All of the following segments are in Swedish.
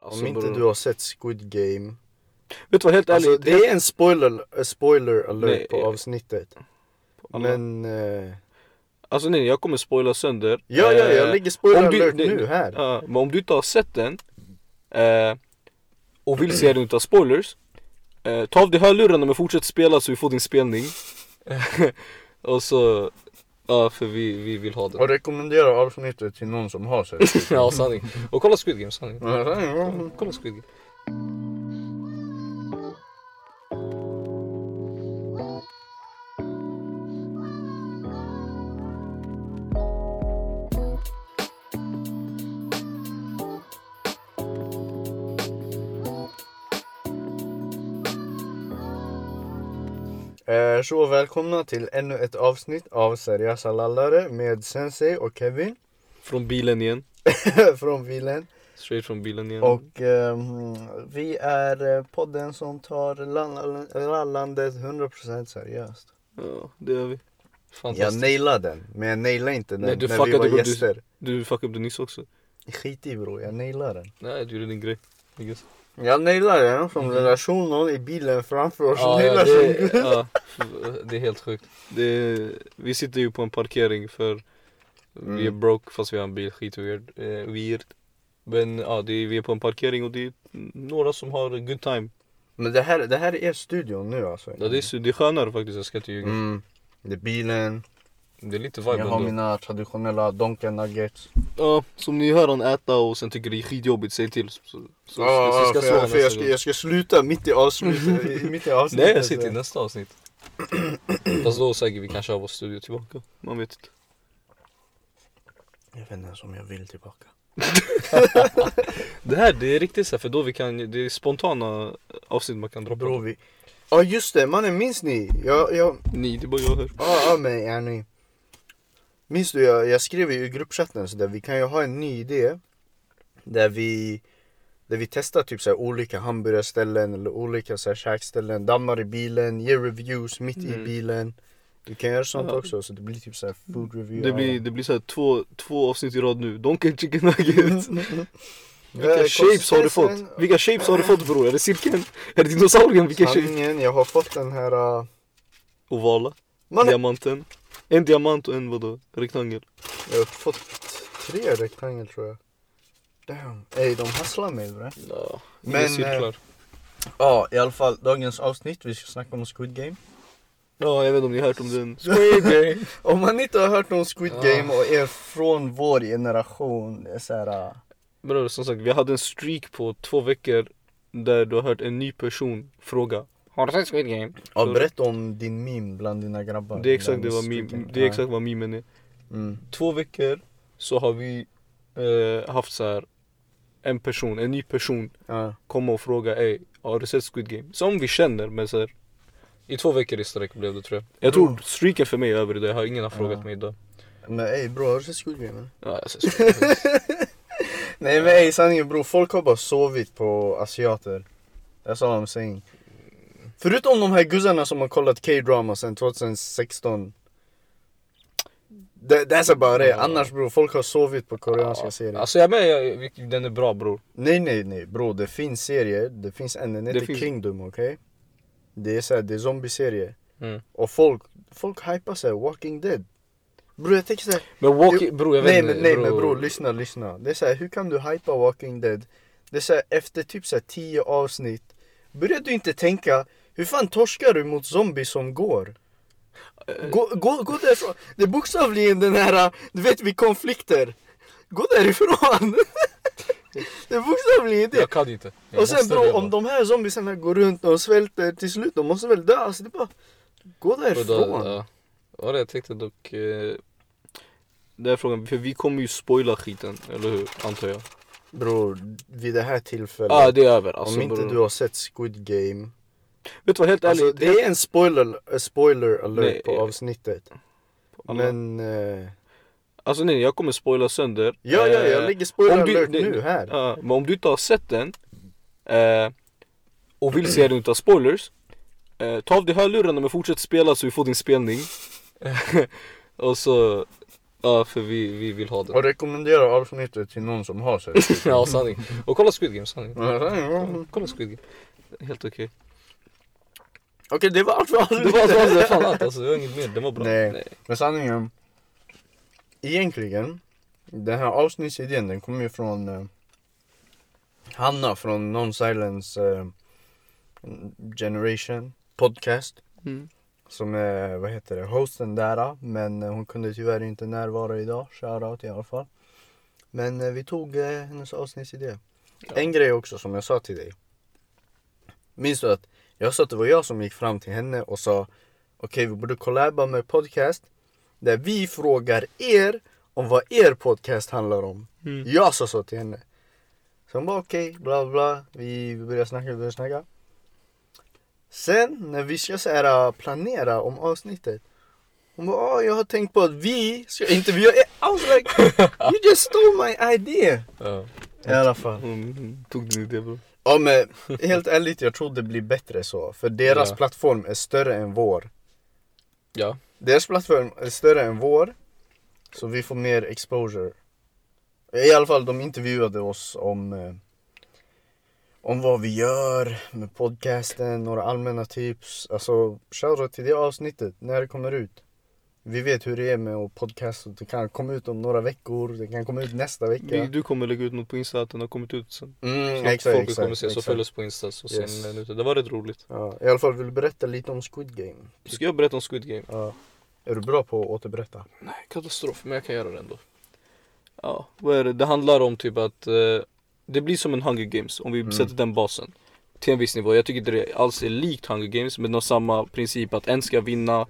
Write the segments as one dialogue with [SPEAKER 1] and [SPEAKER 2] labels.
[SPEAKER 1] Om inte du har sett Squid Game
[SPEAKER 2] Vet du vad, helt
[SPEAKER 1] Alltså
[SPEAKER 2] ärligt.
[SPEAKER 1] det är en spoiler, eh, spoiler alert
[SPEAKER 2] Nej.
[SPEAKER 1] på avsnittet Men, eh,
[SPEAKER 2] Alltså nej, jag kommer spoila sönder.
[SPEAKER 1] ja ja jag
[SPEAKER 2] Eh,
[SPEAKER 1] lägger spoiler
[SPEAKER 2] om du-
[SPEAKER 1] alert
[SPEAKER 2] nej,
[SPEAKER 1] nu här
[SPEAKER 2] Ja, men om du inte har sett den eh, och vill se den utan spoilers eh, Ta av dig hörlurarna men fortsätt spela så vi får din spelning Och så, ja för vi, vi vill ha den
[SPEAKER 1] Och rekommenderar avsnittet till någon som har sett
[SPEAKER 2] Ja sanning, och kolla Squid Game sanning
[SPEAKER 1] det.
[SPEAKER 2] Kolla Squid Game
[SPEAKER 1] Eh, Så välkomna till ännu ett avsnitt av Seriösa lallare med Sensei och Kevin
[SPEAKER 2] Från bilen igen,
[SPEAKER 1] från Vilen
[SPEAKER 2] straight från bilen igen
[SPEAKER 1] Och ehm, vi är eh, podden som tar lall- lallandet 100% seriöst
[SPEAKER 2] ja, det gör vi
[SPEAKER 1] Jag
[SPEAKER 2] Fantastiskt
[SPEAKER 1] nailade den, men jag nailade inte den
[SPEAKER 2] Nej, du
[SPEAKER 1] när vi
[SPEAKER 2] fuckade,
[SPEAKER 1] var
[SPEAKER 2] bro. Du-
[SPEAKER 1] gäster
[SPEAKER 2] Du fuckade upp det nyss också
[SPEAKER 1] Skit i bro, jag nailade den
[SPEAKER 2] Nej du gjorde din grej I guess.
[SPEAKER 1] Jag nailar den som den där shunon i bilen framför oss
[SPEAKER 2] Ja,
[SPEAKER 1] som
[SPEAKER 2] ja,
[SPEAKER 1] nailar
[SPEAKER 2] det,
[SPEAKER 1] sig.
[SPEAKER 2] ja, det är helt sjukt. Det är, vi sitter ju på en parkering för vi är
[SPEAKER 1] Mm.
[SPEAKER 2] broke fast vi har en bil, skitweird. Eh, weird. Men ja, det är, vi är på en parkering och det är några som har a good time.
[SPEAKER 1] Men det här, det här är er studion nu alltså.
[SPEAKER 2] Ja, det, är, det är skönare faktiskt, jag ska inte ljuga.
[SPEAKER 1] Mm. Det är bilen,
[SPEAKER 2] Det är lite vibe
[SPEAKER 1] jag har
[SPEAKER 2] ändå.
[SPEAKER 1] mina traditionella Donken nuggets.
[SPEAKER 2] Ja, som ni hör han äta och sen tycker det är skitjobbigt, säg till. Så, så, så, så ska jag slå honom nästa gång.
[SPEAKER 1] ska sluta mitt i avsnittet. i- mitt i avsnittet
[SPEAKER 2] Nej, jag säger till nästa avsnitt. Fast då säger vi kanske har vår studio tillbaka. Man vet inte.
[SPEAKER 1] Jag vet inte ens om jag vill tillbaka.
[SPEAKER 2] Det här det är riktigt så här, för då vi kan, det är spontana avsnitt man kan droppa.
[SPEAKER 1] Bro, vi... Ja just det, mannen minns ni? Jag, jag...
[SPEAKER 2] Ni, det är bara jag hör.
[SPEAKER 1] Ja, ja men yani. Minns du, jag, jag skrev ju i gruppchatten så där, vi kan ju ha en ny idé. Där vi, där vi testar typ så här, olika hamburgarställen eller olika så här, käkställen. Dammar i bilen, ger reviews mitt i
[SPEAKER 2] Mm.
[SPEAKER 1] bilen. Vi kan göra sånt
[SPEAKER 2] Ja.
[SPEAKER 1] också så det blir typ så här food review.
[SPEAKER 2] Det blir, det blir så här två, två avsnitt i rad nu. Donken chicken nuggets. Vilka
[SPEAKER 1] Mm. Eh,
[SPEAKER 2] shapes har du fått?
[SPEAKER 1] konsistensen.
[SPEAKER 2] Vilka shapes har du fått bror? Är det cirkeln? Är det dinosaurien? Vilka shapes?
[SPEAKER 1] Sanningen, jag har fått den här... Uh...
[SPEAKER 2] Ovala.
[SPEAKER 1] Mannen,
[SPEAKER 2] Diamanten. En diamant och en vadå? Rektangel.
[SPEAKER 1] jag har fått tre rektangel tror jag. Damn. Ey, de hasslar mig bre.
[SPEAKER 2] Ja,
[SPEAKER 1] Men, eh, Ja, i alla fall dagens avsnitt, vi ska snacka om Squid Game.
[SPEAKER 2] Ja, jag vet inte om ni har hört om den. Squid Game.
[SPEAKER 1] Om man inte har hört om Squid
[SPEAKER 2] Ah.
[SPEAKER 1] Game och är från vår generation, det är så här, ah.
[SPEAKER 2] Bror som sagt, vi hade en streak på två veckor där du har hört en ny person fråga Har du sett Squid Game?
[SPEAKER 1] ja,
[SPEAKER 2] Så-
[SPEAKER 1] berätta om din meme bland dina grabbar.
[SPEAKER 2] Det är exakt, det
[SPEAKER 1] Bland
[SPEAKER 2] var
[SPEAKER 1] Squid
[SPEAKER 2] meme,
[SPEAKER 1] Game.
[SPEAKER 2] det är exakt vad memen är.
[SPEAKER 1] Ja. Mm.
[SPEAKER 2] två veckor så har vi eh, haft så här en person, en ny person
[SPEAKER 1] Ja.
[SPEAKER 2] komma och fråga ey, har du sett Squid Game? Som vi känner men så här, I två veckor i sträck blev det tror jag. Jag tror
[SPEAKER 1] Mm.
[SPEAKER 2] streaken för mig är över idag, jag har ingen har frågat
[SPEAKER 1] Ja.
[SPEAKER 2] mig idag.
[SPEAKER 1] Men ey bror, har du sett Squid Game? eller?
[SPEAKER 2] Ja, jag ser Squid Game.
[SPEAKER 1] Nej men ey sanningen bror, folk har bara sovit på asiater. That's all I'm saying. Förutom de här guzzarna som har kollat K-drama sedan 2016. That, that's about it.
[SPEAKER 2] Ja.
[SPEAKER 1] Annars bror, folk har sovit på koreanska
[SPEAKER 2] Ja.
[SPEAKER 1] serier.
[SPEAKER 2] Alltså jag med, jag, vi- den är bra bror.
[SPEAKER 1] Nej nej nej bro, det finns serier, det finns en, den heter
[SPEAKER 2] finns-
[SPEAKER 1] Kingdom okej? Det är såhär, det är zombieserier
[SPEAKER 2] Mm.
[SPEAKER 1] Och folk, folk hypar såhär Walking Dead Bro jag tänker såhär,
[SPEAKER 2] Men walkie, bror jag vet
[SPEAKER 1] nej
[SPEAKER 2] inte,
[SPEAKER 1] men nej men bro lyssna lyssna Det är såhär, hur kan du hypa Walking Dead? Det är såhär, efter typ såhär 10 avsnitt Börjar du inte tänka, hur fan torskar du mot zombies som går?
[SPEAKER 2] Eh.
[SPEAKER 1] Gå, gå, gå därifrån, det är bokstavligen den här, äh, du vet vid konflikter Gå därifrån! Det är bokstavligen det!
[SPEAKER 2] Jag kan inte. Jag
[SPEAKER 1] Och sen
[SPEAKER 2] måste
[SPEAKER 1] bro,
[SPEAKER 2] leva.
[SPEAKER 1] om de här zombiesarna går runt och svälter till slut, de måste väl dö? Alltså det är bara, gå
[SPEAKER 2] Och
[SPEAKER 1] därifrån!
[SPEAKER 2] Då, ja. ja, det jag tänkte dock... Eh, den här frågan, för vi kommer ju spoila skiten, eller hur? Antar jag.
[SPEAKER 1] Bror, vid det här tillfället,
[SPEAKER 2] Ja, ah, det är över. Alltså,
[SPEAKER 1] om inte
[SPEAKER 2] bror.
[SPEAKER 1] du har sett Squid Game
[SPEAKER 2] Vet du vad, helt
[SPEAKER 1] Alltså
[SPEAKER 2] ärligt.
[SPEAKER 1] det är en spoiler, eh, spoiler alert
[SPEAKER 2] Nej,
[SPEAKER 1] på
[SPEAKER 2] eh,
[SPEAKER 1] avsnittet
[SPEAKER 2] men...
[SPEAKER 1] Men, eh,
[SPEAKER 2] Alltså nej, jag kommer spoila sönder.
[SPEAKER 1] ja ja, jag
[SPEAKER 2] Eh,
[SPEAKER 1] lägger spoiler
[SPEAKER 2] om du-
[SPEAKER 1] alert
[SPEAKER 2] det-
[SPEAKER 1] nu här
[SPEAKER 2] ja, men om du inte har sett den eh, och vill se den utan spoilers. Eh, ta av dig hörlurarna men fortsätt spela så vi får din spelning. och så, Ja, för vi, vi vill ha den.
[SPEAKER 1] Och rekommendera avsnittet till någon som har sett
[SPEAKER 2] ja, sanning. Och kolla Squid Game, sanning.
[SPEAKER 1] Okej,
[SPEAKER 2] Kolla Squid Game. Helt okej.
[SPEAKER 1] det var allt för
[SPEAKER 2] Det var alltså, det var fan allt alltså, det var inget mer, den var bra.
[SPEAKER 1] Nej. Men sanningen, egentligen, den här avsnittsidén den kommer ju från eh, Hanna från Non-Silence eh, Generation podcast.
[SPEAKER 2] Mm.
[SPEAKER 1] Som är, vad heter det, hosten där. Men eh, hon kunde tyvärr inte närvara idag. Shoutout i alla fall. Men eh, vi tog eh, hennes avsnittsidé. En grej också som jag sa till dig. Minns du att jag sa att det var jag som gick fram till henne och sa Okej, vi borde collaba med podcast där vi frågar er om vad er podcast handlar om.
[SPEAKER 2] Mm.
[SPEAKER 1] Jag sa så till henne. Så hon bara okej, bla bla, vi vi börjar snacka, vi börjar snacka. Sen när vi ska så här, äh, planera om avsnittet. Hon bara, "Ah, jag har tänkt på att vi ska intervjua er. I was like, you just stole my idea.
[SPEAKER 2] Ja.
[SPEAKER 1] I alla fall. Mm-hmm.
[SPEAKER 2] Hon tog din idé bro.
[SPEAKER 1] Ja men helt ärligt, jag tror det blir bättre så. För deras
[SPEAKER 2] Ja.
[SPEAKER 1] plattform är större än vår.
[SPEAKER 2] Ja.
[SPEAKER 1] Deras plattform är större än vår. Så vi får mer exposure. I alla fall de intervjuade oss om eh, om vad vi gör med podcasten, några allmänna tips. Alltså shoutout till det avsnittet när det kommer ut. Vi vet hur det är med att podcasta. Det kan komma ut om några veckor, det kan komma ut nästa
[SPEAKER 2] Vi,
[SPEAKER 1] vecka.
[SPEAKER 2] du kommer lägga ut något på Insta att den har kommit ut sen.
[SPEAKER 1] Mm,
[SPEAKER 2] Så
[SPEAKER 1] exakt,
[SPEAKER 2] folk kommer
[SPEAKER 1] exakt,
[SPEAKER 2] se, så
[SPEAKER 1] exakt.
[SPEAKER 2] följ oss på Insta så ser
[SPEAKER 1] Yes.
[SPEAKER 2] ni den ute. Det var rätt roligt.
[SPEAKER 1] Ja, I alla fall vill du berätta lite om Squid Game?
[SPEAKER 2] Ska jag berätta om Squid Game?
[SPEAKER 1] Ja. Är du bra på att återberätta?
[SPEAKER 2] Nej, katastrof, men jag kan göra det ändå. Ja, vad är det? Det handlar om typ att eh, det blir som en Hunger Games om vi sätter den basen. Till en viss nivå. Jag tycker inte det alls är likt Hunger Games men de har samma princip att en ska vinna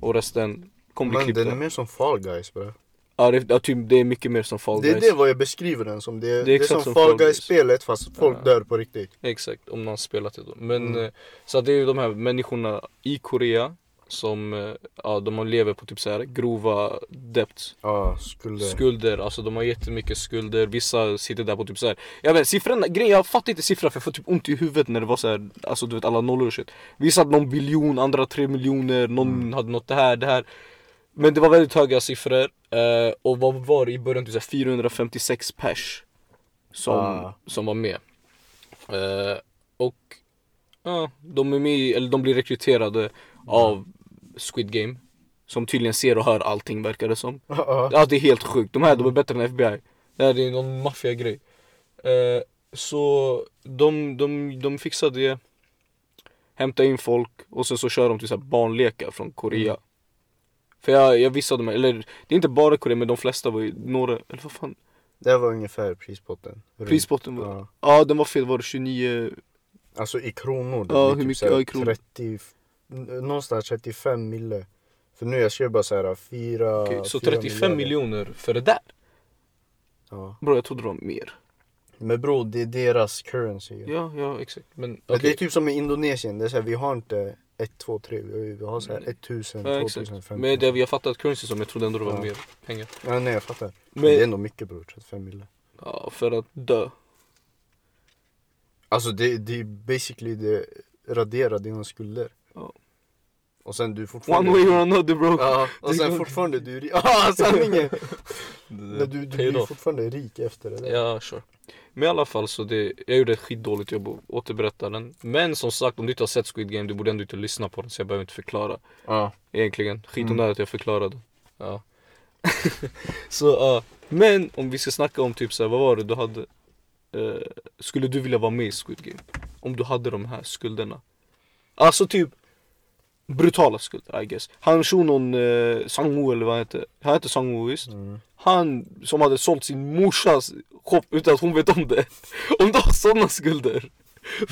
[SPEAKER 2] och resten kommer bli
[SPEAKER 1] Men den är
[SPEAKER 2] klippta.
[SPEAKER 1] mer som Fall Guys bre.
[SPEAKER 2] Ja, det, ja, typ, det är mycket mer som Fall
[SPEAKER 1] Det är
[SPEAKER 2] Guys.
[SPEAKER 1] det vad jag beskriver den som. Det är, det är
[SPEAKER 2] exakt
[SPEAKER 1] som,
[SPEAKER 2] som
[SPEAKER 1] Fall
[SPEAKER 2] Fall Guys.
[SPEAKER 1] Guys-spelet fast folk
[SPEAKER 2] Ja.
[SPEAKER 1] dör på riktigt.
[SPEAKER 2] Exakt, om någon spelat det då. Men eh, så att det är ju de här människorna i Korea som eh, ja, de lever på typ så här grova debts.
[SPEAKER 1] Ja, skulle...
[SPEAKER 2] Skulder, alltså de har jättemycket skulder, vissa sitter där på typ såhär Jag vet siffrorna, grejen jag fattar inte siffran för jag får typ ont i huvudet när det var så här, Alltså du vet alla nollor och shit Vissa hade någon biljon, andra tre miljoner, någon hade något det här, det här Men det var väldigt höga siffror eh, Och vad var det i början? Typ så här 456 pers Som,
[SPEAKER 1] Ah.
[SPEAKER 2] som var med eh, Och ja, de är med i- eller de blir rekryterade av Squid Game Som tydligen ser och hör allting verkar det som
[SPEAKER 1] Ja, ja.
[SPEAKER 2] Ja det är helt sjukt, de här de är bättre än FBI Det här är någon maffiagrej eh, Så de, de, de fixar det Hämtar in folk och sen så kör de till så här barnlekar från Korea För jag, jag visste att de här, eller det är inte bara Korea men de flesta var ju några, eller vad fan
[SPEAKER 1] Det var ungefär prispotten. Runt.
[SPEAKER 2] Prispotten var,
[SPEAKER 1] Ja.
[SPEAKER 2] ja den var fel, var det 29?
[SPEAKER 1] Alltså i kronor. Det
[SPEAKER 2] Ja,
[SPEAKER 1] blir typ
[SPEAKER 2] hur mycket-
[SPEAKER 1] så här
[SPEAKER 2] ja, i kronor.
[SPEAKER 1] 30... n- Någonstans 35 mille. För nu jag skrev bara såhär 4...
[SPEAKER 2] Okej, så 35 miljoner för det där?
[SPEAKER 1] Ja.
[SPEAKER 2] Bro jag trodde det var mer
[SPEAKER 1] Men bror, det är deras currency.
[SPEAKER 2] Ja, ja exakt men
[SPEAKER 1] Men Det
[SPEAKER 2] okej.
[SPEAKER 1] är typ som i Indonesien, det är så här, vi har inte 1, 2, 3, vi vi har så här 1000,
[SPEAKER 2] Mm. Ja,
[SPEAKER 1] 2000,
[SPEAKER 2] exakt.
[SPEAKER 1] 5000.
[SPEAKER 2] Men det vi har fattat currency som, jag trodde ändå det var
[SPEAKER 1] Ja.
[SPEAKER 2] mer pengar
[SPEAKER 1] Ja, nej jag fattar. Men...
[SPEAKER 2] Men-
[SPEAKER 1] Det är ändå mycket bror, 35 mille.
[SPEAKER 2] Ja, för att dö
[SPEAKER 1] Alltså det, det är basically det raderar dina skulder.
[SPEAKER 2] Ja.
[SPEAKER 1] Och sen du är
[SPEAKER 2] One
[SPEAKER 1] fortfarande...
[SPEAKER 2] way or another bro
[SPEAKER 1] Ja, och sen fortfarande du är rik. Ja, sanningen! Men du, du
[SPEAKER 2] Paid
[SPEAKER 1] blir
[SPEAKER 2] off.
[SPEAKER 1] fortfarande rik efter det där.
[SPEAKER 2] Ja, sure. Men i alla fall så det, jag gjorde ett skitdåligt jobb att återberätta den. Men som sagt, om du inte har sett Squid Game, du borde ändå inte lyssna på den så jag behöver inte förklara.
[SPEAKER 1] Ja.
[SPEAKER 2] Egentligen, skitonödigt att jag förklarade. Ja. så ja, men om vi ska snacka om typ såhär, vad var det du hade? Eh, skulle du vilja vara med i Squid Game? Om du hade de här skulderna? Alltså typ brutala skulder I guess. Han shunon eh, Sang-woo eller vad han heter. Han heter Sang-woo visst? Han som hade sålt sin morsas shop utan att hon vet om det. Om du har sådana skulder.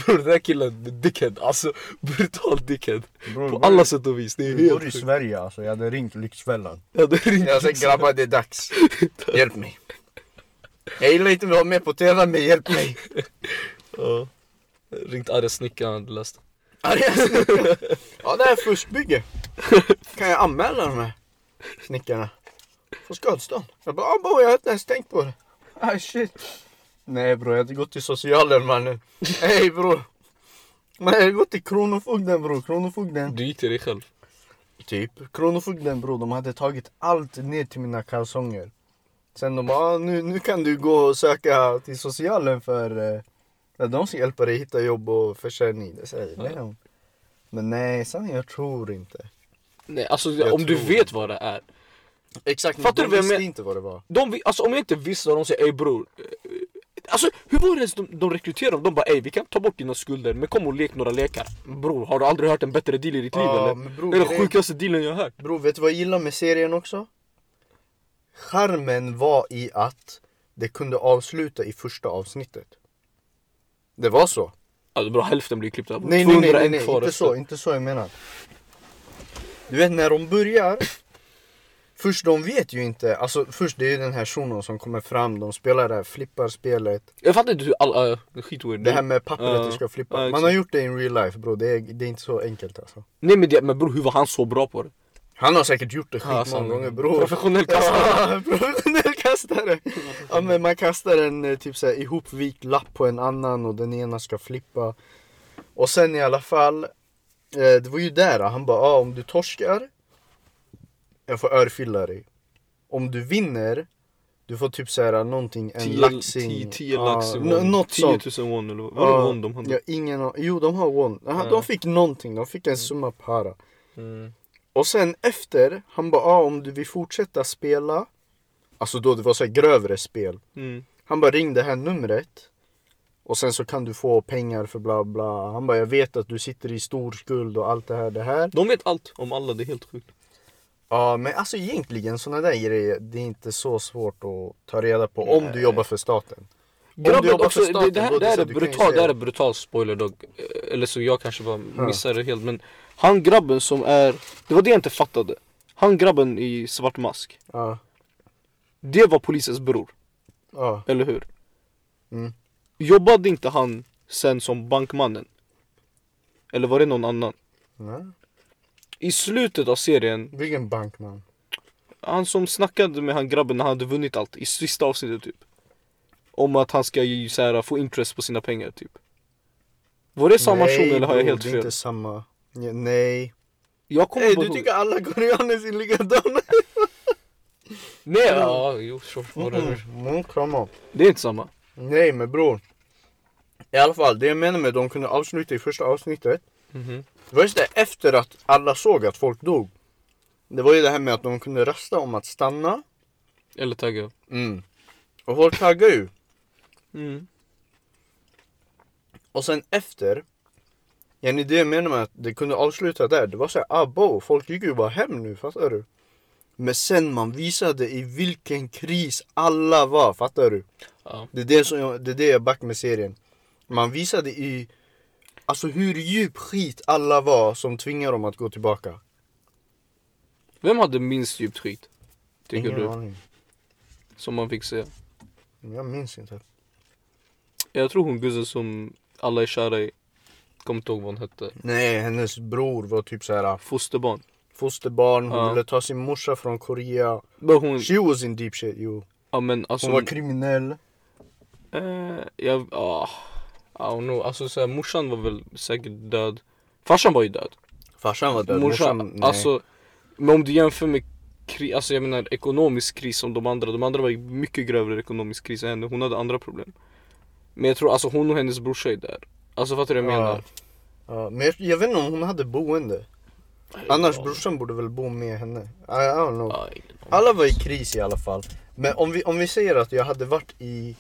[SPEAKER 2] Bror den där killen, dickhead. Alltså brutal dickhead.
[SPEAKER 1] Bror,
[SPEAKER 2] På
[SPEAKER 1] bror.
[SPEAKER 2] alla sätt och vis. Det är
[SPEAKER 1] Du bor i
[SPEAKER 2] helt
[SPEAKER 1] Sverige alltså, jag hade ringt Lyxfällan.
[SPEAKER 2] Ja, det är
[SPEAKER 1] Jag sa grabbar det är dags. Hjälp mig. Jag gillar inte att vara med på TV men hjälp mig.
[SPEAKER 2] Ja. Ringt arga snickaren, du läste.
[SPEAKER 1] Ja, det är- ja det här är fuskbygge. Kan jag anmäla de här snickarna? Få skadestånd? Jag bara, ah, bo, jag har inte ens tänkt på det. Ah shit. Nej bror, jag hade gått till socialen mannen. Hej bror. Man jag hade gått till Kronofogden bror, Kronofogden.
[SPEAKER 2] Du gick till dig själv.
[SPEAKER 1] typ. Kronofogden bror, de hade tagit allt ner till mina kalsonger. Sen de bara, ah, nu, nu kan du gå och söka till socialen för eh, att de ska hjälpa dig hitta jobb och försörjning. Det säger
[SPEAKER 2] Ja.
[SPEAKER 1] ja. Men nej, sanningen, jag tror inte.
[SPEAKER 2] Nej, alltså
[SPEAKER 1] Jag
[SPEAKER 2] om du
[SPEAKER 1] tror-
[SPEAKER 2] vet vad det är.
[SPEAKER 1] Exakt,
[SPEAKER 2] Fattar
[SPEAKER 1] Fattar
[SPEAKER 2] du
[SPEAKER 1] de
[SPEAKER 2] vad jag
[SPEAKER 1] visste
[SPEAKER 2] men-
[SPEAKER 1] inte vad det var.
[SPEAKER 2] De, vi- alltså om jag inte visste vad de säger, ey bror. eh, Alltså hur var det ens de, de rekryterade dem? De bara ey vi kan ta bort dina skulder men kom och lek några lekar. Bror har du aldrig hört en bättre deal i ditt liv
[SPEAKER 1] Ja,
[SPEAKER 2] eller?
[SPEAKER 1] men bror,
[SPEAKER 2] det är den
[SPEAKER 1] grejen-
[SPEAKER 2] sjukaste dealen jag har hört.
[SPEAKER 1] Bror, vet du vad jag gillar med serien också? Charmen var i att det kunde avsluta i första avsnittet. Det var så.
[SPEAKER 2] Alltså bror hälften blir klippta. bror.
[SPEAKER 1] Nej, nej, nej,
[SPEAKER 2] 201
[SPEAKER 1] nej, nej.
[SPEAKER 2] kvar
[SPEAKER 1] inte
[SPEAKER 2] efter.
[SPEAKER 1] så, inte så jag menar. Du vet när de börjar, först de vet ju inte, alltså först det är ju den här shunon som kommer fram, de spelar det här flipparspelet,
[SPEAKER 2] Jag fattar inte hur alla, uh, skitweird.
[SPEAKER 1] det här med pappret
[SPEAKER 2] Ja,
[SPEAKER 1] du ska flippa.
[SPEAKER 2] ja,
[SPEAKER 1] Man
[SPEAKER 2] exakt.
[SPEAKER 1] har gjort det in real life bro, det är, det är inte så enkelt alltså.
[SPEAKER 2] Nej men, det, men bror hur var han så bra på det?
[SPEAKER 1] Han har säkert gjort det
[SPEAKER 2] Ja,
[SPEAKER 1] skitmånga
[SPEAKER 2] sanningen.
[SPEAKER 1] gånger bror.
[SPEAKER 2] Professionell kastare.
[SPEAKER 1] Ja, professionell kastare. Ja men man kastar en eh, typ såhär ihopvikt lapp på en annan och den ena ska flippa. Och sen i alla fall, eh, det var ju där han bara ah, om du torskar, jag får örfila dig. Om du vinner, du får typ såhär någonting, en
[SPEAKER 2] 10
[SPEAKER 1] laxing.
[SPEAKER 2] 10
[SPEAKER 1] Ja,
[SPEAKER 2] lax i
[SPEAKER 1] nå-
[SPEAKER 2] won.
[SPEAKER 1] Något
[SPEAKER 2] 10 000
[SPEAKER 1] sånt.
[SPEAKER 2] won eller vad var det
[SPEAKER 1] Ja,
[SPEAKER 2] won de hade?
[SPEAKER 1] Ja, ingen an- Jo de har won. Aha,
[SPEAKER 2] Ja.
[SPEAKER 1] De fick någonting, de fick en summa para.
[SPEAKER 2] Mm.
[SPEAKER 1] Och sen efter, han bara ah, om du vill fortsätta spela Alltså då det var så här grövre spel
[SPEAKER 2] Mm.
[SPEAKER 1] Han bara ring det här numret Och sen så kan du få pengar för bla bla Han bara jag vet att du sitter i stor skuld och allt det här det här
[SPEAKER 2] De vet allt om alla, det är helt sjukt.
[SPEAKER 1] Ja men alltså egentligen sådana där grejer Det är inte så svårt att ta reda på om du
[SPEAKER 2] Nej.
[SPEAKER 1] jobbar för staten Om du
[SPEAKER 2] Grabben
[SPEAKER 1] jobbar
[SPEAKER 2] också,
[SPEAKER 1] för
[SPEAKER 2] det,
[SPEAKER 1] staten,
[SPEAKER 2] det, här,
[SPEAKER 1] då
[SPEAKER 2] det här
[SPEAKER 1] så
[SPEAKER 2] är
[SPEAKER 1] du kan ju
[SPEAKER 2] brutal, det
[SPEAKER 1] säga-
[SPEAKER 2] här är brutal spoiler dock. Eh, Eller så jag kanske bara missade det helt men Han grabben som är, det var det jag inte fattade. Han grabben i svart mask.
[SPEAKER 1] Ja,
[SPEAKER 2] Det var polisens bror,
[SPEAKER 1] ja
[SPEAKER 2] eller hur?
[SPEAKER 1] Mm.
[SPEAKER 2] Jobbade inte han sen som bankmannen? Eller var det någon annan?
[SPEAKER 1] Nej.
[SPEAKER 2] I slutet av serien,
[SPEAKER 1] Vilken bankman
[SPEAKER 2] han som snackade med han grabben när han hade vunnit allt i sista avsnittet typ. Om att han ska ju så här, få interest på sina pengar typ. Var det samma
[SPEAKER 1] Nej,
[SPEAKER 2] person eller har jag
[SPEAKER 1] bror,
[SPEAKER 2] helt
[SPEAKER 1] det är
[SPEAKER 2] fel?
[SPEAKER 1] inte samma Ja, Nej
[SPEAKER 2] Jag kommer
[SPEAKER 1] Ey
[SPEAKER 2] bara
[SPEAKER 1] du
[SPEAKER 2] ihåg-
[SPEAKER 1] tycker alla koreaner ser likadana
[SPEAKER 2] Nej, ja, jo, sure,
[SPEAKER 1] Mm,
[SPEAKER 2] whatever.
[SPEAKER 1] mm, come on.
[SPEAKER 2] Det är inte samma.
[SPEAKER 1] Nej men bror. I alla fall, det jag menar med att de kunde avsluta i första avsnittet.
[SPEAKER 2] Mhm.
[SPEAKER 1] Det var just det, efter att alla såg att folk dog. Det var ju det här med att de kunde rösta om att stanna.
[SPEAKER 2] Eller tagga.
[SPEAKER 1] Mm. Och folk taggade ju.
[SPEAKER 2] Mm.
[SPEAKER 1] Och sen efter. Jenny, det jag menar med att det kunde avsluta där. Det var såhär, abo, folk gick ju bara hem nu, fattar du? Men sen man visade i vilken kris alla var, fattar du?
[SPEAKER 2] Ja.
[SPEAKER 1] Det är det, som jag, det är det jag back med serien. Man visade i Alltså hur djup skit alla var som tvingar dem att gå tillbaka.
[SPEAKER 2] Vem hade minst djupt skit? Tycker du?
[SPEAKER 1] aning.
[SPEAKER 2] Som man fick se.
[SPEAKER 1] Jag minns inte.
[SPEAKER 2] Jag tror hon gussen som alla är kära i. Kommer inte ihåg vad hon hette.
[SPEAKER 1] Nej, hennes bror var typ så här
[SPEAKER 2] Fosterbarn.
[SPEAKER 1] fosterbarn. Hon
[SPEAKER 2] Ja.
[SPEAKER 1] ville ta sin morsa från Korea.
[SPEAKER 2] Men hon,
[SPEAKER 1] She was in deep shit, jo.
[SPEAKER 2] ja men alltså.
[SPEAKER 1] Hon var kriminell.
[SPEAKER 2] eh, jag, ah, I don't know. Alltså så här, morsan var väl säkert död. Farsan var ju död.
[SPEAKER 1] Farsan var död.
[SPEAKER 2] Morsan,
[SPEAKER 1] nej.
[SPEAKER 2] alltså. Men om du jämför med kri, alltså jag menar ekonomisk kris som de andra. De andra var i mycket grövre ekonomisk kris än henne. Hon hade andra problem. Men jag tror alltså hon och hennes brorsa är där. Alltså fattar du vad jag
[SPEAKER 1] Ja.
[SPEAKER 2] menar?
[SPEAKER 1] Ja, men jag, jag vet inte om hon hade boende. Annars
[SPEAKER 2] Ja.
[SPEAKER 1] brorsan borde väl bo med henne. I, I don't know.
[SPEAKER 2] Ja, ingen aning.
[SPEAKER 1] Alla var i kris i alla fall. Men om vi, om vi säger att jag hade varit i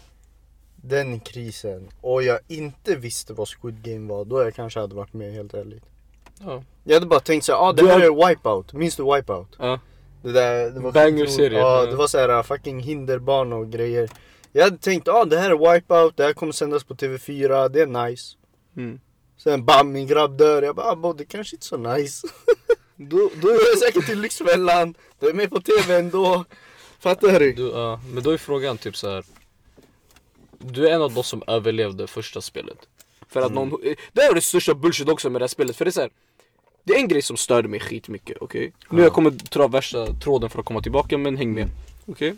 [SPEAKER 1] den krisen och jag inte visste vad Squid Game var, då jag kanske hade varit med helt ärligt.
[SPEAKER 2] Ja.
[SPEAKER 1] Jag hade bara tänkt såhär, ah det
[SPEAKER 2] Du
[SPEAKER 1] här
[SPEAKER 2] har-
[SPEAKER 1] är Wipeout, minns du Wipeout?
[SPEAKER 2] Ja.
[SPEAKER 1] Det där, det var
[SPEAKER 2] Banger-serie.
[SPEAKER 1] Ja,
[SPEAKER 2] Ja.
[SPEAKER 1] det var såhär fucking hinderbana och grejer. Jag hade tänkt, ah det här är Wipeout, det här kommer sändas på TV4, det är nice.
[SPEAKER 2] Mm.
[SPEAKER 1] Sen bam, min grabb dör, jag bara, ah, bo, det kanske inte är så nice.
[SPEAKER 2] Du,
[SPEAKER 1] Då
[SPEAKER 2] du,
[SPEAKER 1] är jag säkert till Lyxfällan, då är jag med på TV ändå. Fattar du?
[SPEAKER 2] du, ja, men då är frågan typ så här. Du är en av de som överlevde första spelet. För att någon, det här var det största bullshit också med det här spelet. För det är så här, Det är en grej som störde mig skitmycket, okej? Nu jag kommer dra värsta tråden för att komma tillbaka, men häng med. Okej?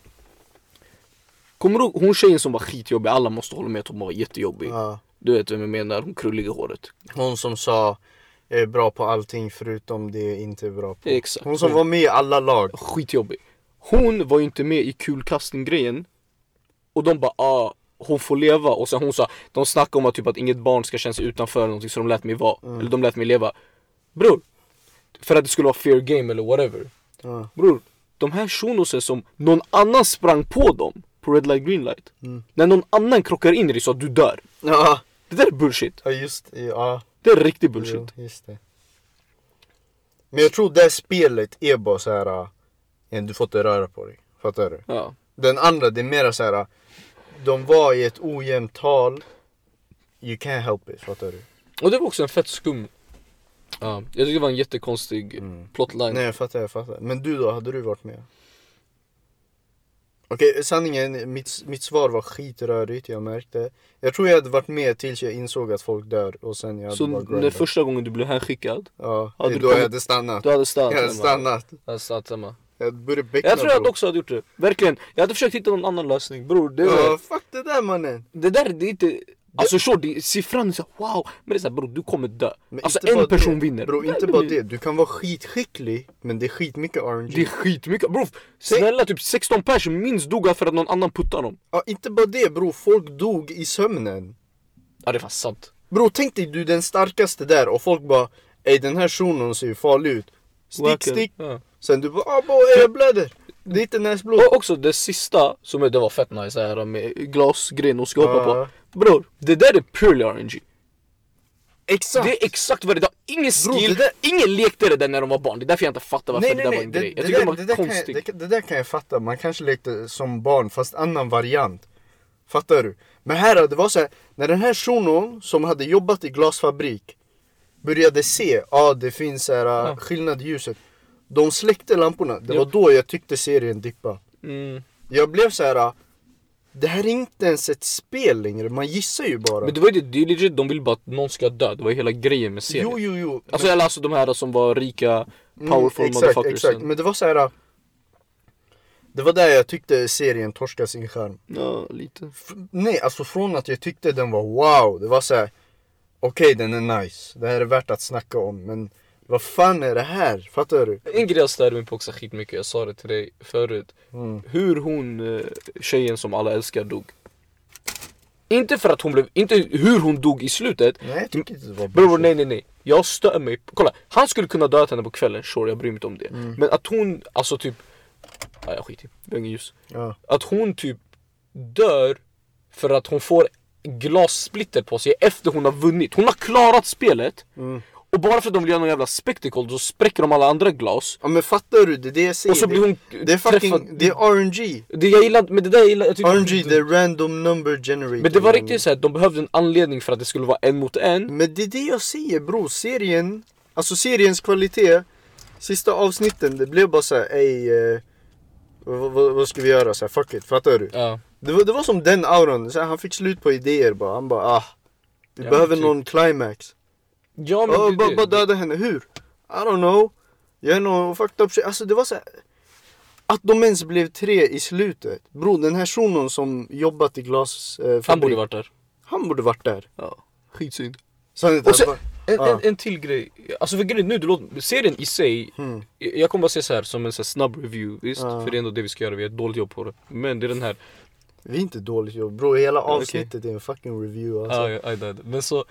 [SPEAKER 2] Kommer du ihåg hon tjejen som var skitjobbig? Alla måste hålla med att hon var jättejobbig.
[SPEAKER 1] Ja.
[SPEAKER 2] Du vet vem jag menar, hon krulliga håret.
[SPEAKER 1] Hon som sa är bra på allting förutom det inte är bra på.
[SPEAKER 2] Exakt.
[SPEAKER 1] Hon som var med i alla lag.
[SPEAKER 2] Skitjobbig. Hon var ju inte med i kulkastning-grejen. Och de bara ah, hon får leva. Och sen hon sa, de snackade om att, typ, att inget barn ska känna sig utanför eller någonting så de lät mig vara. Eller de lät mig leva. Bror. För att det skulle vara fair game eller whatever.
[SPEAKER 1] Ja.
[SPEAKER 2] Bror, de här shunosen som någon annan sprang på dem på red light green light. När någon annan krockar in i dig så att du dör.
[SPEAKER 1] Ja,
[SPEAKER 2] Det där är bullshit.
[SPEAKER 1] ja, just det. Ja,
[SPEAKER 2] Det är riktig
[SPEAKER 1] jo,
[SPEAKER 2] bullshit.
[SPEAKER 1] just det. Men jag tror det här spelet är bara så här. äh, Du får inte röra på dig. Fattar du?
[SPEAKER 2] Ja.
[SPEAKER 1] Den andra, det är mera så här. eh, De var i ett ojämnt tal. You can't help it, fattar du?
[SPEAKER 2] Och det var också en fett skum. Ja, jag tycker det var en jättekonstig plotline.
[SPEAKER 1] Nej jag fattar, jag fattar. Men du då, hade du varit med? Okej, sanningen, mitt, mitt svar var skitrörigt, jag märkte. Jag tror jag hade varit med tills jag insåg att folk dör och sen jag hade
[SPEAKER 2] Så
[SPEAKER 1] bara
[SPEAKER 2] när
[SPEAKER 1] grindat.
[SPEAKER 2] första gången du blev hänskickad,
[SPEAKER 1] Ja, det
[SPEAKER 2] hade
[SPEAKER 1] är
[SPEAKER 2] du
[SPEAKER 1] då jag
[SPEAKER 2] kommit-
[SPEAKER 1] hade stannat.
[SPEAKER 2] du hade stannat
[SPEAKER 1] Jag hade
[SPEAKER 2] hemma.
[SPEAKER 1] stannat.
[SPEAKER 2] Jag hade stannat hemma.
[SPEAKER 1] Jag hade börjat beckna
[SPEAKER 2] Jag tror jag
[SPEAKER 1] bror.
[SPEAKER 2] hade också hade gjort det. Verkligen. Jag hade försökt hitta någon annan lösning bror. Det,
[SPEAKER 1] Ja, fuck det där mannen.
[SPEAKER 2] det där det är inte... Alltså sure, det, siffran är så här, wow. Men det är såhär bror du kommer dö.
[SPEAKER 1] Men
[SPEAKER 2] alltså
[SPEAKER 1] inte bara
[SPEAKER 2] en person
[SPEAKER 1] det.
[SPEAKER 2] vinner.
[SPEAKER 1] Bro,
[SPEAKER 2] Nej,
[SPEAKER 1] inte
[SPEAKER 2] men
[SPEAKER 1] bara det. Du kan vara skitskicklig, men det är skitmycket RNG.
[SPEAKER 2] Det är skitmycket. Bror snälla typ 16 pers minst dog här för att någon annan puttade dem.
[SPEAKER 1] Ja, inte bara det bro. folk dog i sömnen.
[SPEAKER 2] Ja det är fan sant.
[SPEAKER 1] Bro, tänk dig du är den starkaste där och folk bara Ey den här shunon ser ju farlig ut. Stick,
[SPEAKER 2] Wacken.
[SPEAKER 1] stick.
[SPEAKER 2] Ja.
[SPEAKER 1] Sen du bara ah, bo, ey, jag blöder. Det är inte näsblod.
[SPEAKER 2] Och också det sista som är, det var fett nice här med glasgrejen och ska hoppa
[SPEAKER 1] Ja.
[SPEAKER 2] på. Bror det där är purely RNG.
[SPEAKER 1] Exakt!
[SPEAKER 2] Det är exakt vad det är. Det har Ingen
[SPEAKER 1] Bro,
[SPEAKER 2] skill,
[SPEAKER 1] det där-
[SPEAKER 2] ingen lekte det där när de var barn. Det är därför jag inte fattar varför
[SPEAKER 1] nej nej
[SPEAKER 2] det där
[SPEAKER 1] nej,
[SPEAKER 2] var en
[SPEAKER 1] det,
[SPEAKER 2] grej.
[SPEAKER 1] det,
[SPEAKER 2] Jag tycker
[SPEAKER 1] där,
[SPEAKER 2] det var
[SPEAKER 1] det, där kan jag,
[SPEAKER 2] konstigt.
[SPEAKER 1] det, det där kan jag fatta. Man kanske lekte som barn fast annan variant. Fattar du? Men här det var så här, när den här shunon som hade jobbat i glasfabrik började se, ja ah, det finns så här, skillnad i ljuset. De släckte lamporna. Det var då jag tyckte serien dippa.
[SPEAKER 2] Mm.
[SPEAKER 1] Jag blev så här. äh, Det här är inte ens ett spel längre, man gissar ju bara.
[SPEAKER 2] Men det var ju det, det är legit, de vill bara att någon ska dö. Det var ju hela grejen med serien.
[SPEAKER 1] jo, jo, jo.
[SPEAKER 2] Alltså, eller alltså de här som var rika,
[SPEAKER 1] Mm,
[SPEAKER 2] powerful
[SPEAKER 1] exakt,
[SPEAKER 2] motherfuckers.
[SPEAKER 1] exakt. Men det var så här. äh, Det var där jag tyckte serien torskade sin charm.
[SPEAKER 2] Ja, lite.
[SPEAKER 1] F- nej, alltså från att jag tyckte den var wow, det var så här. Okej, den är nice. Det här är värt att snacka om, men vad fan är det här? Fattar du?
[SPEAKER 2] En grej jag störde mig på också skitmycket, jag sa det till dig förut.
[SPEAKER 1] Mm.
[SPEAKER 2] Hur hon, eh, tjejen som alla älskar, dog. Inte för att hon blev, inte hur hon dog i slutet.
[SPEAKER 1] Nej, jag tyckte inte det var
[SPEAKER 2] Bror
[SPEAKER 1] bullshit.
[SPEAKER 2] nej nej nej, jag stör mig på- Kolla, han skulle kunna döda henne på kvällen, sure jag bryr mig inte om det
[SPEAKER 1] Mm.
[SPEAKER 2] Men att hon, alltså typ Nej jag skiter i, det, vi har ingen ljus
[SPEAKER 1] Ja.
[SPEAKER 2] Att hon typ dör för att hon får glassplitter på sig efter hon har vunnit Hon har klarat spelet
[SPEAKER 1] Mm.
[SPEAKER 2] Och bara för att de vill göra någon jävla spectacle så spräcker de alla andra glas
[SPEAKER 1] ja, men fattar du? Det är det jag säger.
[SPEAKER 2] Och så blir hon
[SPEAKER 1] det, det är fucking,
[SPEAKER 2] träffad-
[SPEAKER 1] det är RNG.
[SPEAKER 2] det, Jag gillar inte- men det där jag gillar jag tycker
[SPEAKER 1] RNG, det är random number generator.
[SPEAKER 2] Men det var riktigt såhär, de behövde en anledning för att det skulle vara en mot en
[SPEAKER 1] Men det är det jag säger bro, serien, alltså seriens kvalitet, sista avsnitten det blev bara såhär ey, eh, vad, vad, vad ska vi göra? Så här, fuck it, fattar du?
[SPEAKER 2] Ja,
[SPEAKER 1] Det var, det var som den auron, så här, han fick slut på idéer bara, han bara ah, vi
[SPEAKER 2] Ja,
[SPEAKER 1] behöver
[SPEAKER 2] typ.
[SPEAKER 1] någon climax.
[SPEAKER 2] ja men
[SPEAKER 1] Ja,
[SPEAKER 2] det-
[SPEAKER 1] bara,
[SPEAKER 2] det-
[SPEAKER 1] bara döda henne, hur? I don't know, jag är någon fucked up shit. Alltså det var så här, att de ens blev tre i slutet. Bro, den här shunon som jobbat i glasfabrik, eh,
[SPEAKER 2] Han borde
[SPEAKER 1] fabrik,
[SPEAKER 2] varit där
[SPEAKER 1] han borde varit där.
[SPEAKER 2] Ja, skitsynd
[SPEAKER 1] Så han inte
[SPEAKER 2] Och
[SPEAKER 1] hade
[SPEAKER 2] sen,
[SPEAKER 1] varit-
[SPEAKER 2] en,
[SPEAKER 1] Ja.
[SPEAKER 2] en, en till grej, alltså för grejen nu, det låter, serien i sig, jag jag kommer bara säga så här som en så här snabb review, visst?
[SPEAKER 1] Hmm. Ja.
[SPEAKER 2] För det är ändå det vi ska göra, vi har ett dåligt jobb på det. Men det är den här,
[SPEAKER 1] Vi är inte dåligt jobb bro, hela
[SPEAKER 2] okej.
[SPEAKER 1] avsnittet är en fucking review alltså.
[SPEAKER 2] ah, ja, I died. men så,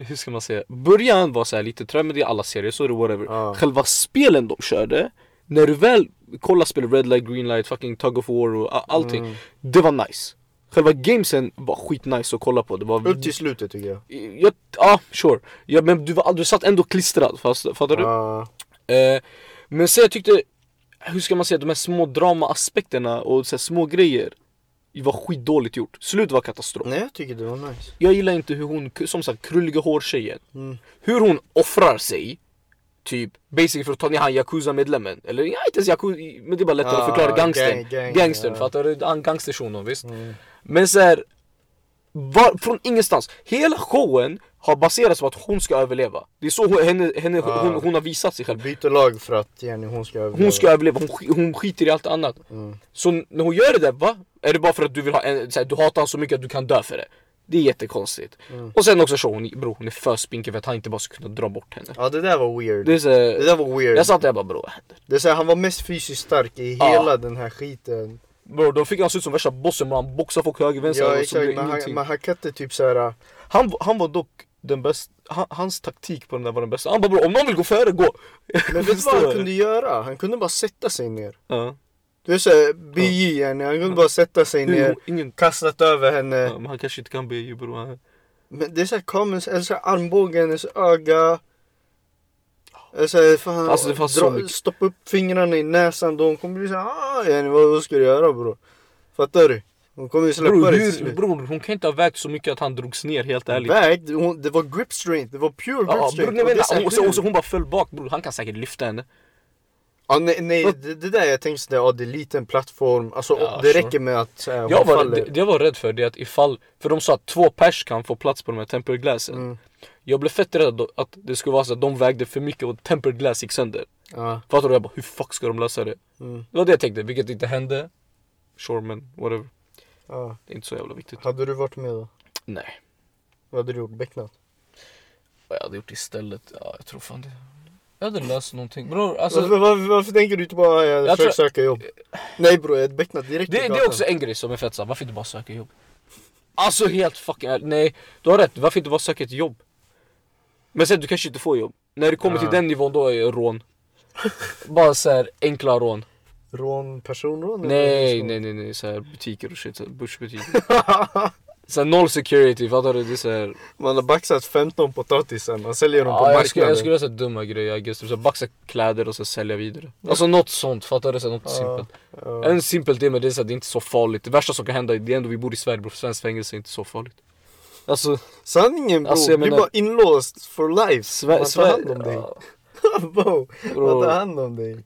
[SPEAKER 2] hur ska man säga, början var så här lite trött, men det är alla serier, så är det whatever.
[SPEAKER 1] Ja.
[SPEAKER 2] Själva spelen de körde, när du väl kollar spel, Red Light, Green Light, fucking Tug of War och a- allting,
[SPEAKER 1] Mm.
[SPEAKER 2] det var nice. Själva gamesen var skitnice att kolla på, det var...
[SPEAKER 1] Upp till slutet tycker jag.
[SPEAKER 2] Ja, ah, sure. Ja, men du, var, du satt ändå klistrad, fast, fattar du?
[SPEAKER 1] Ja,
[SPEAKER 2] Eh, men sen jag tyckte, hur ska man säga, de här små dramaaspekterna och så här små grejer det var skitdåligt gjort. Slutet var katastrof.
[SPEAKER 1] nej jag tycker det var nice.
[SPEAKER 2] Jag gillar inte hur hon, som sagt krulliga hårtjejen,
[SPEAKER 1] Mm.
[SPEAKER 2] hur hon offrar sig Typ basically för att ta ner han Yakuza-medlemmen. Eller ja, inte ens Yakuza, men det är bara lättare
[SPEAKER 1] Ah,
[SPEAKER 2] att förklara gangstern.
[SPEAKER 1] gang- gang,
[SPEAKER 2] gangstern,
[SPEAKER 1] ja. Mm.
[SPEAKER 2] fattar du? Han gangstershunon, visst? Men såhär, från ingenstans. Hela showen har baserats på att hon ska överleva. Det är så hon, henne, henne,
[SPEAKER 1] Ah.
[SPEAKER 2] hon, hon har visat sig själv.
[SPEAKER 1] Byter lag för att Jenny hon ska överleva.
[SPEAKER 2] Hon ska överleva, hon, sk- hon skiter i allt annat.
[SPEAKER 1] Mm.
[SPEAKER 2] Så när hon gör det där, va? Är det bara för att du vill ha en, så här, du hatar honom så mycket att du kan dö för det? Det är jättekonstigt.
[SPEAKER 1] Mm.
[SPEAKER 2] Och sen också så, hon, bro hon är för spinkig för att han inte bara skulle kunna dra bort henne.
[SPEAKER 1] Ja det där var weird.
[SPEAKER 2] Det är
[SPEAKER 1] Det,
[SPEAKER 2] så, här-
[SPEAKER 1] där var weird.
[SPEAKER 2] jag satt där och bara bro vad händer?
[SPEAKER 1] Det är så här, han var mest fysiskt stark i
[SPEAKER 2] Ja.
[SPEAKER 1] hela den här skiten.
[SPEAKER 2] Bro då fick han se ut som värsta bossen, bro. han boxade folk höger vänster
[SPEAKER 1] Ja
[SPEAKER 2] och så blev
[SPEAKER 1] exakt, men han,
[SPEAKER 2] ingenting.
[SPEAKER 1] men han kan inte typ såhär,
[SPEAKER 2] Han, han var dock den bästa, han, hans taktik på den där var den bästa. Han bara bro om någon vill gå före, gå!
[SPEAKER 1] men vet du
[SPEAKER 2] Förstår
[SPEAKER 1] vad han
[SPEAKER 2] du?
[SPEAKER 1] kunde göra? Han kunde bara sätta sig ner.
[SPEAKER 2] Ja.
[SPEAKER 1] Du är såhär BJ yani, han kunde bara sätta sig ner,
[SPEAKER 2] Jo, Ingen,
[SPEAKER 1] kastat över henne.
[SPEAKER 2] ja, men han kanske inte kan be ju bro. Han-
[SPEAKER 1] Men det är såhär commons, eller såhär armbågen, hennes öga. Eller såhär, fan,
[SPEAKER 2] Alltså, det fanns så mycket.
[SPEAKER 1] stoppa upp fingrarna i näsan då, hon kommer bli såhär ah, yani, vad, vad ska du göra bro? Fattar du? Hon kommer ju släppa
[SPEAKER 2] Bro,
[SPEAKER 1] dig till
[SPEAKER 2] hur,
[SPEAKER 1] slut.
[SPEAKER 2] bro, hon kan inte ha vägt så mycket att han drogs ner helt ärligt.
[SPEAKER 1] Väg, det- hon- det var grip strength, det var pure grip
[SPEAKER 2] Ja, bror,
[SPEAKER 1] strength.
[SPEAKER 2] nej,
[SPEAKER 1] Och det
[SPEAKER 2] men, alltså,
[SPEAKER 1] är så här,
[SPEAKER 2] och, och, så-
[SPEAKER 1] hur?
[SPEAKER 2] och så hon bara föll bak bror, han kan säkert lyfta henne.
[SPEAKER 1] Ja, nej, nej det, det där jag tänkte sådär, ja, det är liten plattform, alltså
[SPEAKER 2] Ja,
[SPEAKER 1] det
[SPEAKER 2] sure.
[SPEAKER 1] räcker med att så här, hon
[SPEAKER 2] Jag var,
[SPEAKER 1] faller.
[SPEAKER 2] det, det jag var rädd för det är att ifall, för de sa att två pers kan få plats på de här tempered glassen.
[SPEAKER 1] Mm.
[SPEAKER 2] Jag blev fett rädd då- att det skulle vara så att de vägde för mycket och tempered glass gick sönder.
[SPEAKER 1] Ja,
[SPEAKER 2] Fattar du? Jag bara hur fuck ska de lösa det?
[SPEAKER 1] mm,
[SPEAKER 2] Det var det jag tänkte, vilket inte hände. Sure men whatever,
[SPEAKER 1] ja.
[SPEAKER 2] det är inte så jävla viktigt.
[SPEAKER 1] Hade du varit med då?
[SPEAKER 2] Nej,
[SPEAKER 1] Vad hade du gjort? Becknat?
[SPEAKER 2] vad jag hade gjort istället, ja jag tror fan det. Jag hade löst någonting. Bror
[SPEAKER 1] varför,
[SPEAKER 2] alltså,
[SPEAKER 1] varför, varför tänker du inte bara jag, jag
[SPEAKER 2] Jag
[SPEAKER 1] försöker
[SPEAKER 2] tror-
[SPEAKER 1] söka jobb? Nej bror, jag hade becknat direkt
[SPEAKER 2] det,
[SPEAKER 1] i
[SPEAKER 2] det är
[SPEAKER 1] gatan.
[SPEAKER 2] också en grej som är fett såhär, varför inte bara söka jobb? Alltså helt fucking ärligt, nej. Du har rätt, varför inte bara söka ett jobb? Men sen du kanske inte får jobb. När du kommer
[SPEAKER 1] Ah.
[SPEAKER 2] till den nivån då är det rån. bara såhär enkla rån.
[SPEAKER 1] Rån, personrån? eller
[SPEAKER 2] Nej,
[SPEAKER 1] så?
[SPEAKER 2] nej, nej, nej, såhär butiker och shit, så här börsbutiker. såhär noll security, fattar du? Det är såhär...
[SPEAKER 1] Man har baxat 15 potatisar, man säljer dem på
[SPEAKER 2] Ja, jag skulle,
[SPEAKER 1] marknaden.
[SPEAKER 2] jag skulle göra såhär dumma grejer, I guess. Typ såhär baxa kläder och så sälja vidare. Alltså något sånt, fattar du? Såhär något simpelt.
[SPEAKER 1] Ja, ja.
[SPEAKER 2] En simpelt det, men det är, så här, det är inte så farligt. Det värsta som kan hända, det är ändå vi bor i Sverige bror, svenskt fängelse är inte så farligt. Alltså,
[SPEAKER 1] Sanningen bror,
[SPEAKER 2] Alltså, jag
[SPEAKER 1] du är
[SPEAKER 2] menar-
[SPEAKER 1] bara inlåst for life.
[SPEAKER 2] Sverige...
[SPEAKER 1] man tar hand om dig.
[SPEAKER 2] Ja,
[SPEAKER 1] bro, man
[SPEAKER 2] Bro.
[SPEAKER 1] tar hand om dig.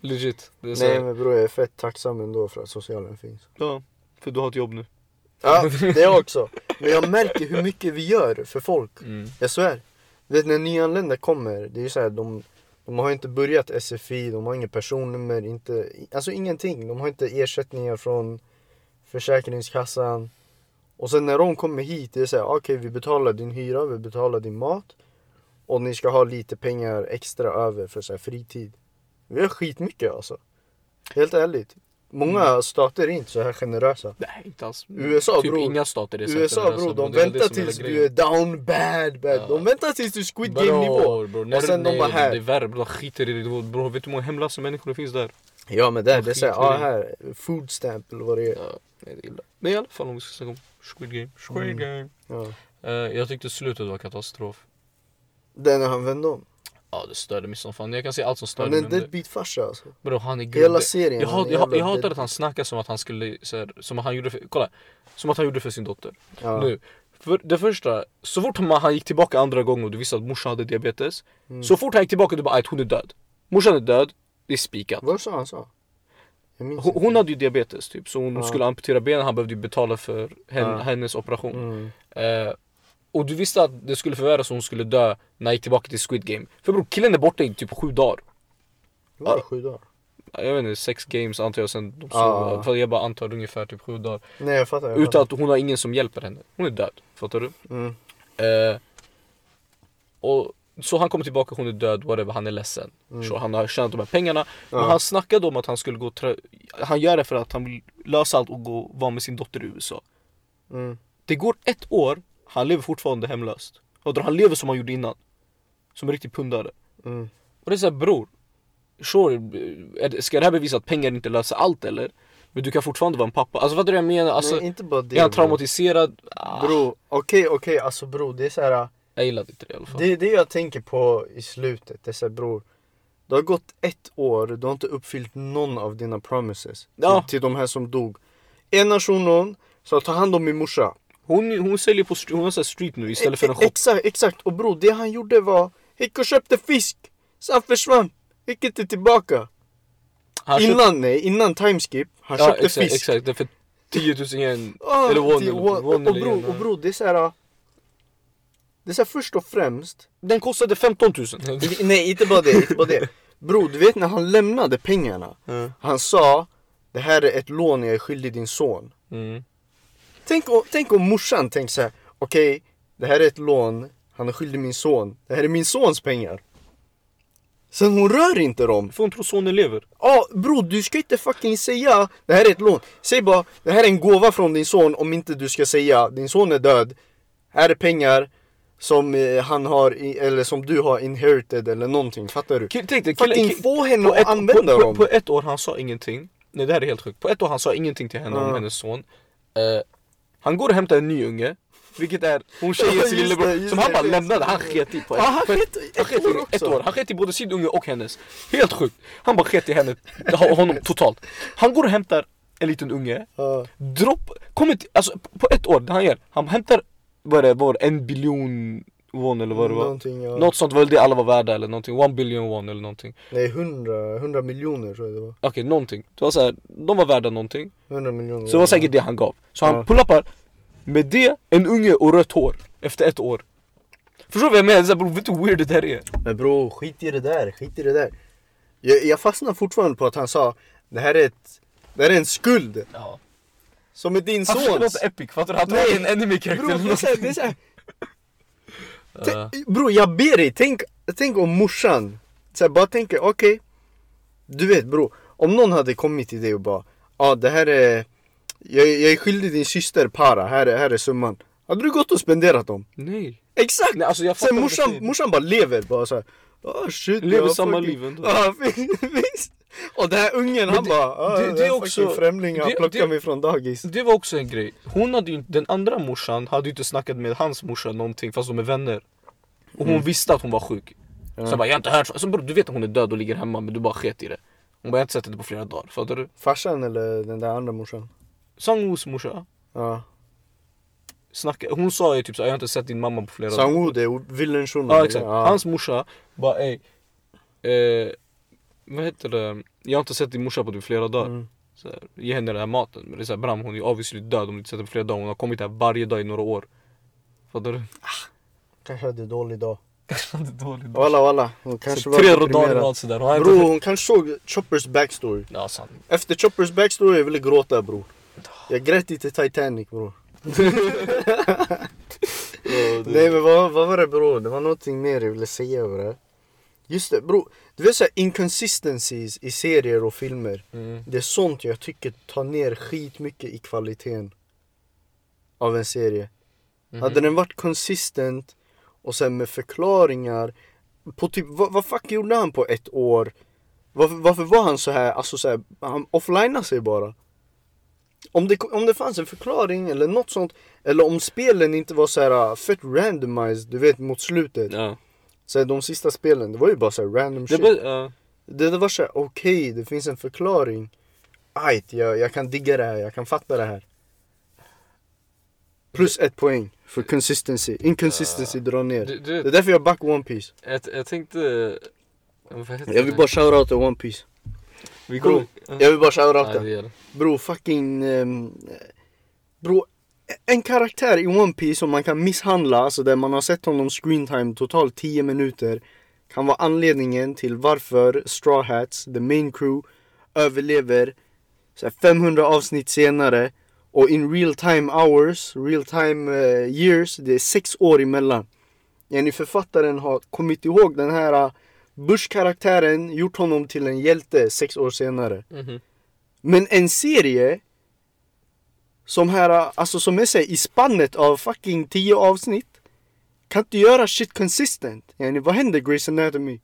[SPEAKER 2] legit. Det är så
[SPEAKER 1] Nej
[SPEAKER 2] här,
[SPEAKER 1] men bror jag är fett tacksam ändå för att socialen finns.
[SPEAKER 2] ja, för du har ett jobb nu.
[SPEAKER 1] Ja, det också. Men jag märker hur mycket vi gör för folk.
[SPEAKER 2] Mm.
[SPEAKER 1] Jag svär. Du vet när nyanlända kommer, det är ju så här, de, de har inte börjat SFI, de har inget personnummer, inte, alltså ingenting. De har inte ersättningar från Försäkringskassan. Och sen när de kommer hit, det är så här, okej vi betalar din hyra, vi betalar din mat. Och ni ska ha lite pengar extra över för så här fritid. Vi har skitmycket alltså. Helt ärligt. Många stater är inte så här generösa.
[SPEAKER 2] Nej, inte alls.
[SPEAKER 1] USA,
[SPEAKER 2] Mm. typ
[SPEAKER 1] bror.
[SPEAKER 2] inga stater är så här
[SPEAKER 1] USA
[SPEAKER 2] generösa,
[SPEAKER 1] bro, de
[SPEAKER 2] alltså, det är väl det
[SPEAKER 1] väntar
[SPEAKER 2] som är
[SPEAKER 1] tills
[SPEAKER 2] hela
[SPEAKER 1] du
[SPEAKER 2] grejen.
[SPEAKER 1] är down bad bad.
[SPEAKER 2] Ja.
[SPEAKER 1] De väntar tills du är Squid Game nivå.
[SPEAKER 2] Bro, bro, när,
[SPEAKER 1] Och sen de
[SPEAKER 2] nej,
[SPEAKER 1] bara här.
[SPEAKER 2] Det är värre bror, de skiter i det. Bro, Bro, vet du hur många hemlösa människor det finns där?
[SPEAKER 1] Ja men det, det är såhär,
[SPEAKER 2] Skit i det.
[SPEAKER 1] ah, här, food stamp eller vad det är.
[SPEAKER 2] Ja, nej, det är illa. Men i alla fall om vi ska snacka om Squid Game. Squid
[SPEAKER 1] Mm.
[SPEAKER 2] Game.
[SPEAKER 1] Ja.
[SPEAKER 2] Eh, jag tyckte slutet var katastrof.
[SPEAKER 1] Den när han vände om.
[SPEAKER 2] Ja det störde mig som fan. Jag kan säga allt som störde
[SPEAKER 1] Han
[SPEAKER 2] mig.
[SPEAKER 1] är
[SPEAKER 2] men
[SPEAKER 1] en
[SPEAKER 2] det-
[SPEAKER 1] deadbeat-farsa alltså.
[SPEAKER 2] Bro, han är grov.
[SPEAKER 1] Hela serien.
[SPEAKER 2] Jag,
[SPEAKER 1] han
[SPEAKER 2] hat,
[SPEAKER 1] är
[SPEAKER 2] jag, hat-
[SPEAKER 1] jävla
[SPEAKER 2] jag hatar
[SPEAKER 1] dead-
[SPEAKER 2] att han snackar som att han skulle, så här, som han gjorde för, kolla. Som att han gjorde för sin dotter.
[SPEAKER 1] Ja.
[SPEAKER 2] Nu. För det första, så fort man, han gick tillbaka andra gången och du visste att morsan hade diabetes.
[SPEAKER 1] Mm.
[SPEAKER 2] Så fort han gick tillbaka du bara "Ajt, hon är död. Morsan är död, det är spikat.
[SPEAKER 1] Vad sa han sa? Jag minns
[SPEAKER 2] Hon,
[SPEAKER 1] inte.
[SPEAKER 2] hon hade ju diabetes typ, så hon
[SPEAKER 1] Ja.
[SPEAKER 2] skulle amputera benen, han behövde ju betala för hen,
[SPEAKER 1] Ja.
[SPEAKER 2] hennes operation.
[SPEAKER 1] Mm.
[SPEAKER 2] Eh, och du visste att det skulle förvärras och hon skulle dö när han gick tillbaka till Squid Game. För bror, killen är borta i typ sju dagar.
[SPEAKER 1] Det var
[SPEAKER 2] Ja.
[SPEAKER 1] sju dagar.
[SPEAKER 2] Jag vet inte, sex games antar jag sen de såg,
[SPEAKER 1] Ja.
[SPEAKER 2] för jag bara antar ungefär typ sju dagar.
[SPEAKER 1] Nej jag fattar. Jag
[SPEAKER 2] Utan
[SPEAKER 1] fattar.
[SPEAKER 2] att hon har ingen som hjälper henne. Hon är död, fattar du?
[SPEAKER 1] Mm.
[SPEAKER 2] Eh, och så han kommer tillbaka, hon är död, whatever, han är ledsen. Så han har tjänat de här pengarna.
[SPEAKER 1] Mm. Ja.
[SPEAKER 2] Men han snackade om att han skulle gå och tra- Han gör det för att han vill lösa allt och gå och vara med sin dotter i USA.
[SPEAKER 1] Mm.
[SPEAKER 2] Det går ett år, han lever fortfarande hemlöst. Och han lever som han gjorde innan. Som en riktig pundare.
[SPEAKER 1] Mm.
[SPEAKER 2] Och det är såhär bror, sure, är det- ska det här bevisa att pengar inte löser allt eller? Men du kan fortfarande vara en pappa. Alltså fattar du vad jag menar? Alltså,
[SPEAKER 1] Nej inte bara det.
[SPEAKER 2] är han
[SPEAKER 1] bro.
[SPEAKER 2] traumatiserad? Ah,
[SPEAKER 1] Bro, okej okej alltså bro det är såhär.
[SPEAKER 2] jag gillade inte det i alla fall.
[SPEAKER 1] Det är det jag tänker på i slutet. Det är så här, bror. Det har gått ett år, du har inte uppfyllt någon av dina promises.
[SPEAKER 2] Ja.
[SPEAKER 1] Till, till de här som dog. Ena shunon sa ta hand om min morsa.
[SPEAKER 2] Hon, hon säljer på str- hon har så här street nu istället för en
[SPEAKER 1] E-
[SPEAKER 2] shop.
[SPEAKER 1] Exakt, exakt. Och bror, det han gjorde var, gick och köpte fisk. Så han försvann. Gick inte tillbaka.
[SPEAKER 2] Han köpte-
[SPEAKER 1] innan, nej, innan timeskip. Han
[SPEAKER 2] ja,
[SPEAKER 1] köpte
[SPEAKER 2] exakt,
[SPEAKER 1] fisk.
[SPEAKER 2] Exakt, det är för 10 000 yen.
[SPEAKER 1] Ah,
[SPEAKER 2] eller one,
[SPEAKER 1] till-
[SPEAKER 2] eller-
[SPEAKER 1] och,
[SPEAKER 2] one
[SPEAKER 1] och,
[SPEAKER 2] eller
[SPEAKER 1] bro,
[SPEAKER 2] en,
[SPEAKER 1] och
[SPEAKER 2] ja.
[SPEAKER 1] bro, det är så här. ah, Det är så här först och främst.
[SPEAKER 2] Den kostade 15 000.
[SPEAKER 1] Nej, inte bara det, inte bara det. Bro, du vet när han lämnade pengarna.
[SPEAKER 2] Ja.
[SPEAKER 1] Han sa Det här är ett lån jag är skyldig din son
[SPEAKER 2] Mm.
[SPEAKER 1] Tänk om, tänk om morsan tänkte såhär, okej, det här är ett lån, han är skyldig min son, det här är min sons pengar. Sen hon rör inte dem.
[SPEAKER 2] Får hon tro sonen lever?
[SPEAKER 1] Ja, bror du ska inte fucking säga det här är ett lån. Säg bara, det här är en gåva från din son om inte du ska säga din son är död. Här är pengar som eh, han har, i, eller som du har inherited eller någonting, fattar du?
[SPEAKER 2] Kill, tänk dig, killen-
[SPEAKER 1] Fucking
[SPEAKER 2] kill-
[SPEAKER 1] få henne
[SPEAKER 2] på,
[SPEAKER 1] att
[SPEAKER 2] ett, på,
[SPEAKER 1] använda
[SPEAKER 2] på,
[SPEAKER 1] dem.
[SPEAKER 2] på ett år han sa ingenting. Nej det här är helt sjukt. På ett år han sa ingenting till henne om
[SPEAKER 1] Ja.
[SPEAKER 2] hennes son. Eh, han går och hämtar en ny unge. Vilket är hon tjejens
[SPEAKER 1] Just det,
[SPEAKER 2] lillebror
[SPEAKER 1] just
[SPEAKER 2] som han
[SPEAKER 1] det,
[SPEAKER 2] bara
[SPEAKER 1] det.
[SPEAKER 2] lämnade. Han sket i på ett,
[SPEAKER 1] Ja,
[SPEAKER 2] på
[SPEAKER 1] han sket i
[SPEAKER 2] han
[SPEAKER 1] ett
[SPEAKER 2] sket i
[SPEAKER 1] år
[SPEAKER 2] ett
[SPEAKER 1] också.
[SPEAKER 2] år. Han sket i både sin unge och hennes. Helt sjukt. Han bara sket i henne, ho- honom totalt. Han går och hämtar en liten unge.
[SPEAKER 1] Ja.
[SPEAKER 2] Dropp, kommer till, alltså på ett år, det han gör. Han hämtar, vad är det var, en biljon won eller vad det var.
[SPEAKER 1] Någonting, ja.
[SPEAKER 2] Något sånt var väl det alla var värda eller någonting. One billion won eller någonting.
[SPEAKER 1] Nej, 100, 100 miljoner tror jag det var.
[SPEAKER 2] Okej, någonting. Det var så här, de var värda någonting.
[SPEAKER 1] 100 miljoner.
[SPEAKER 2] Så det var säkert det han gav. Så han
[SPEAKER 1] Ja.
[SPEAKER 2] pull-upar med det, en unge och rött hår. Efter ett år. Förstår du vad jag menar? Så här, bro, vet du hur weird det här är?
[SPEAKER 1] Men bro, skit i det där, skit i det där. Jag, jag fastnar fortfarande på att han sa det här är ett, det här är en skuld
[SPEAKER 2] Ja.
[SPEAKER 1] som är din
[SPEAKER 2] Han försökte
[SPEAKER 1] sons.
[SPEAKER 2] låta epic, fattar du? Han tog
[SPEAKER 1] Nej.
[SPEAKER 2] en enemy character
[SPEAKER 1] Bro,
[SPEAKER 2] eller
[SPEAKER 1] det är så här,
[SPEAKER 2] någonting.
[SPEAKER 1] det är så här,
[SPEAKER 2] Ja.
[SPEAKER 1] t- bro, jag ber dig, tänk, tänk om morsan. Så här, bara tänker, okej. du vet bro, om någon hade kommit till dig och bara, ja ah, det här är, jag, jag är skyldig din syster para, här är, här är summan. Hade du gått och spenderat dem?
[SPEAKER 2] Nej.
[SPEAKER 1] Exakt!
[SPEAKER 2] Nej alltså jag fattar
[SPEAKER 1] Sen
[SPEAKER 2] vad du
[SPEAKER 1] morsan,
[SPEAKER 2] säger.
[SPEAKER 1] morsan bara lever bara såhär oh, shit,
[SPEAKER 2] Lever
[SPEAKER 1] jag
[SPEAKER 2] samma
[SPEAKER 1] fucking-"
[SPEAKER 2] liv ändå.
[SPEAKER 1] Ja visst! Och den här ungen han
[SPEAKER 2] det-
[SPEAKER 1] bara ah,
[SPEAKER 2] det-
[SPEAKER 1] det,
[SPEAKER 2] det är
[SPEAKER 1] är
[SPEAKER 2] också-
[SPEAKER 1] också främling han
[SPEAKER 2] det-
[SPEAKER 1] plockar
[SPEAKER 2] det-
[SPEAKER 1] mig från dagis
[SPEAKER 2] Det var också en grej. Hon hade ju, inte- den andra morsan hade ju inte snackat med hans morsa någonting fast de är vänner. Och hon
[SPEAKER 1] Mm.
[SPEAKER 2] visste att hon var sjuk. Så jag bara, jag har inte hört så. så bro, du vet att hon är död och ligger hemma men du bara sket i det. Hon bara, jag har inte sett henne på flera dagar. Fattar du?
[SPEAKER 1] Farsan eller den där andra morsan?
[SPEAKER 2] Sang-Wos morsa.
[SPEAKER 1] Ja
[SPEAKER 2] snacka, hon sa ju typ så här, jag har inte sett din mamma på flera dagar.
[SPEAKER 1] Sango det är villen shunon
[SPEAKER 2] Ja exakt,
[SPEAKER 1] ja.
[SPEAKER 2] hans morsa bara ey, eh, vad heter det, jag har inte sett din morsa på typ flera dagar.
[SPEAKER 1] Mm.
[SPEAKER 2] Så här, ge henne den här maten. Men det är såhär Bram hon är obviously död om du inte sett henne på flera dagar. Hon har kommit här varje dag i några år. Fattar du?
[SPEAKER 1] Kanske hade en dålig dag
[SPEAKER 2] Dåligt.
[SPEAKER 1] Walla walla, hon kanske
[SPEAKER 2] Så
[SPEAKER 1] var
[SPEAKER 2] tre
[SPEAKER 1] deprimerad.
[SPEAKER 2] dagar i rad sådär. Hon har inte
[SPEAKER 1] Bro
[SPEAKER 2] sett-
[SPEAKER 1] hon kanske såg Choppers backstory
[SPEAKER 2] Ja sant.
[SPEAKER 1] Efter Choppers backstory jag ville gråta bror Jag grät lite Titanic bror Nej men vad, vad var det bror? Det var någonting mer jag ville säga över det här. Just det bror, du vet såhär inconsistencies i serier och filmer
[SPEAKER 2] Mm.
[SPEAKER 1] Det är sånt jag tycker tar ner skitmycket i kvaliteten Av en serie
[SPEAKER 2] Mhm.
[SPEAKER 1] Hade den varit konsistent och sen med förklaringar på typ, vad, vad fuck gjorde han på ett år? Varför, varför var han så här, alltså så här, han offlineade sig bara om det, om det fanns en förklaring eller något sånt Eller om spelen inte var så här ah, fett randomized, du vet mot slutet
[SPEAKER 2] Ja.
[SPEAKER 1] så här, de sista spelen, det var ju bara så här random
[SPEAKER 2] Det
[SPEAKER 1] shit.
[SPEAKER 2] är bara, ja.
[SPEAKER 1] Det, det var så här, okej, det finns en förklaring. Ajt, jag, jag kan digga det här, jag kan fatta det här. Plus ett poäng för consistency. Inconsistency drar ner.
[SPEAKER 2] Du-
[SPEAKER 1] Det,
[SPEAKER 2] du-
[SPEAKER 1] är därför jag back One Piece.
[SPEAKER 2] jag, jag tänkte... Vad heter
[SPEAKER 1] Jag vill
[SPEAKER 2] det?
[SPEAKER 1] bara shoutouta One Piece.
[SPEAKER 2] Vi
[SPEAKER 1] Bro,
[SPEAKER 2] går...
[SPEAKER 1] Jag vill bara shoutouta.
[SPEAKER 2] Ja, det gör det.
[SPEAKER 1] Bro, fucking... ehm, bro, en karaktär i One Piece som man kan misshandla, alltså där man har sett honom screen time totalt 10 minuter, kan vara anledningen till varför Straw Hats, the main crew, överlever så här, 500 avsnitt senare och in real time hours, real time eh, years, det är sex år emellan. Jenny författaren har kommit ihåg den här eh, Bush-karaktären, gjort honom till en hjälte sex år senare.
[SPEAKER 2] Mhm.
[SPEAKER 1] Men en serie som här, alltså som jag säger, i spannet av fucking 10 avsnitt kan inte göra shit consistent. Yani, vad händer Grey's Anatomy?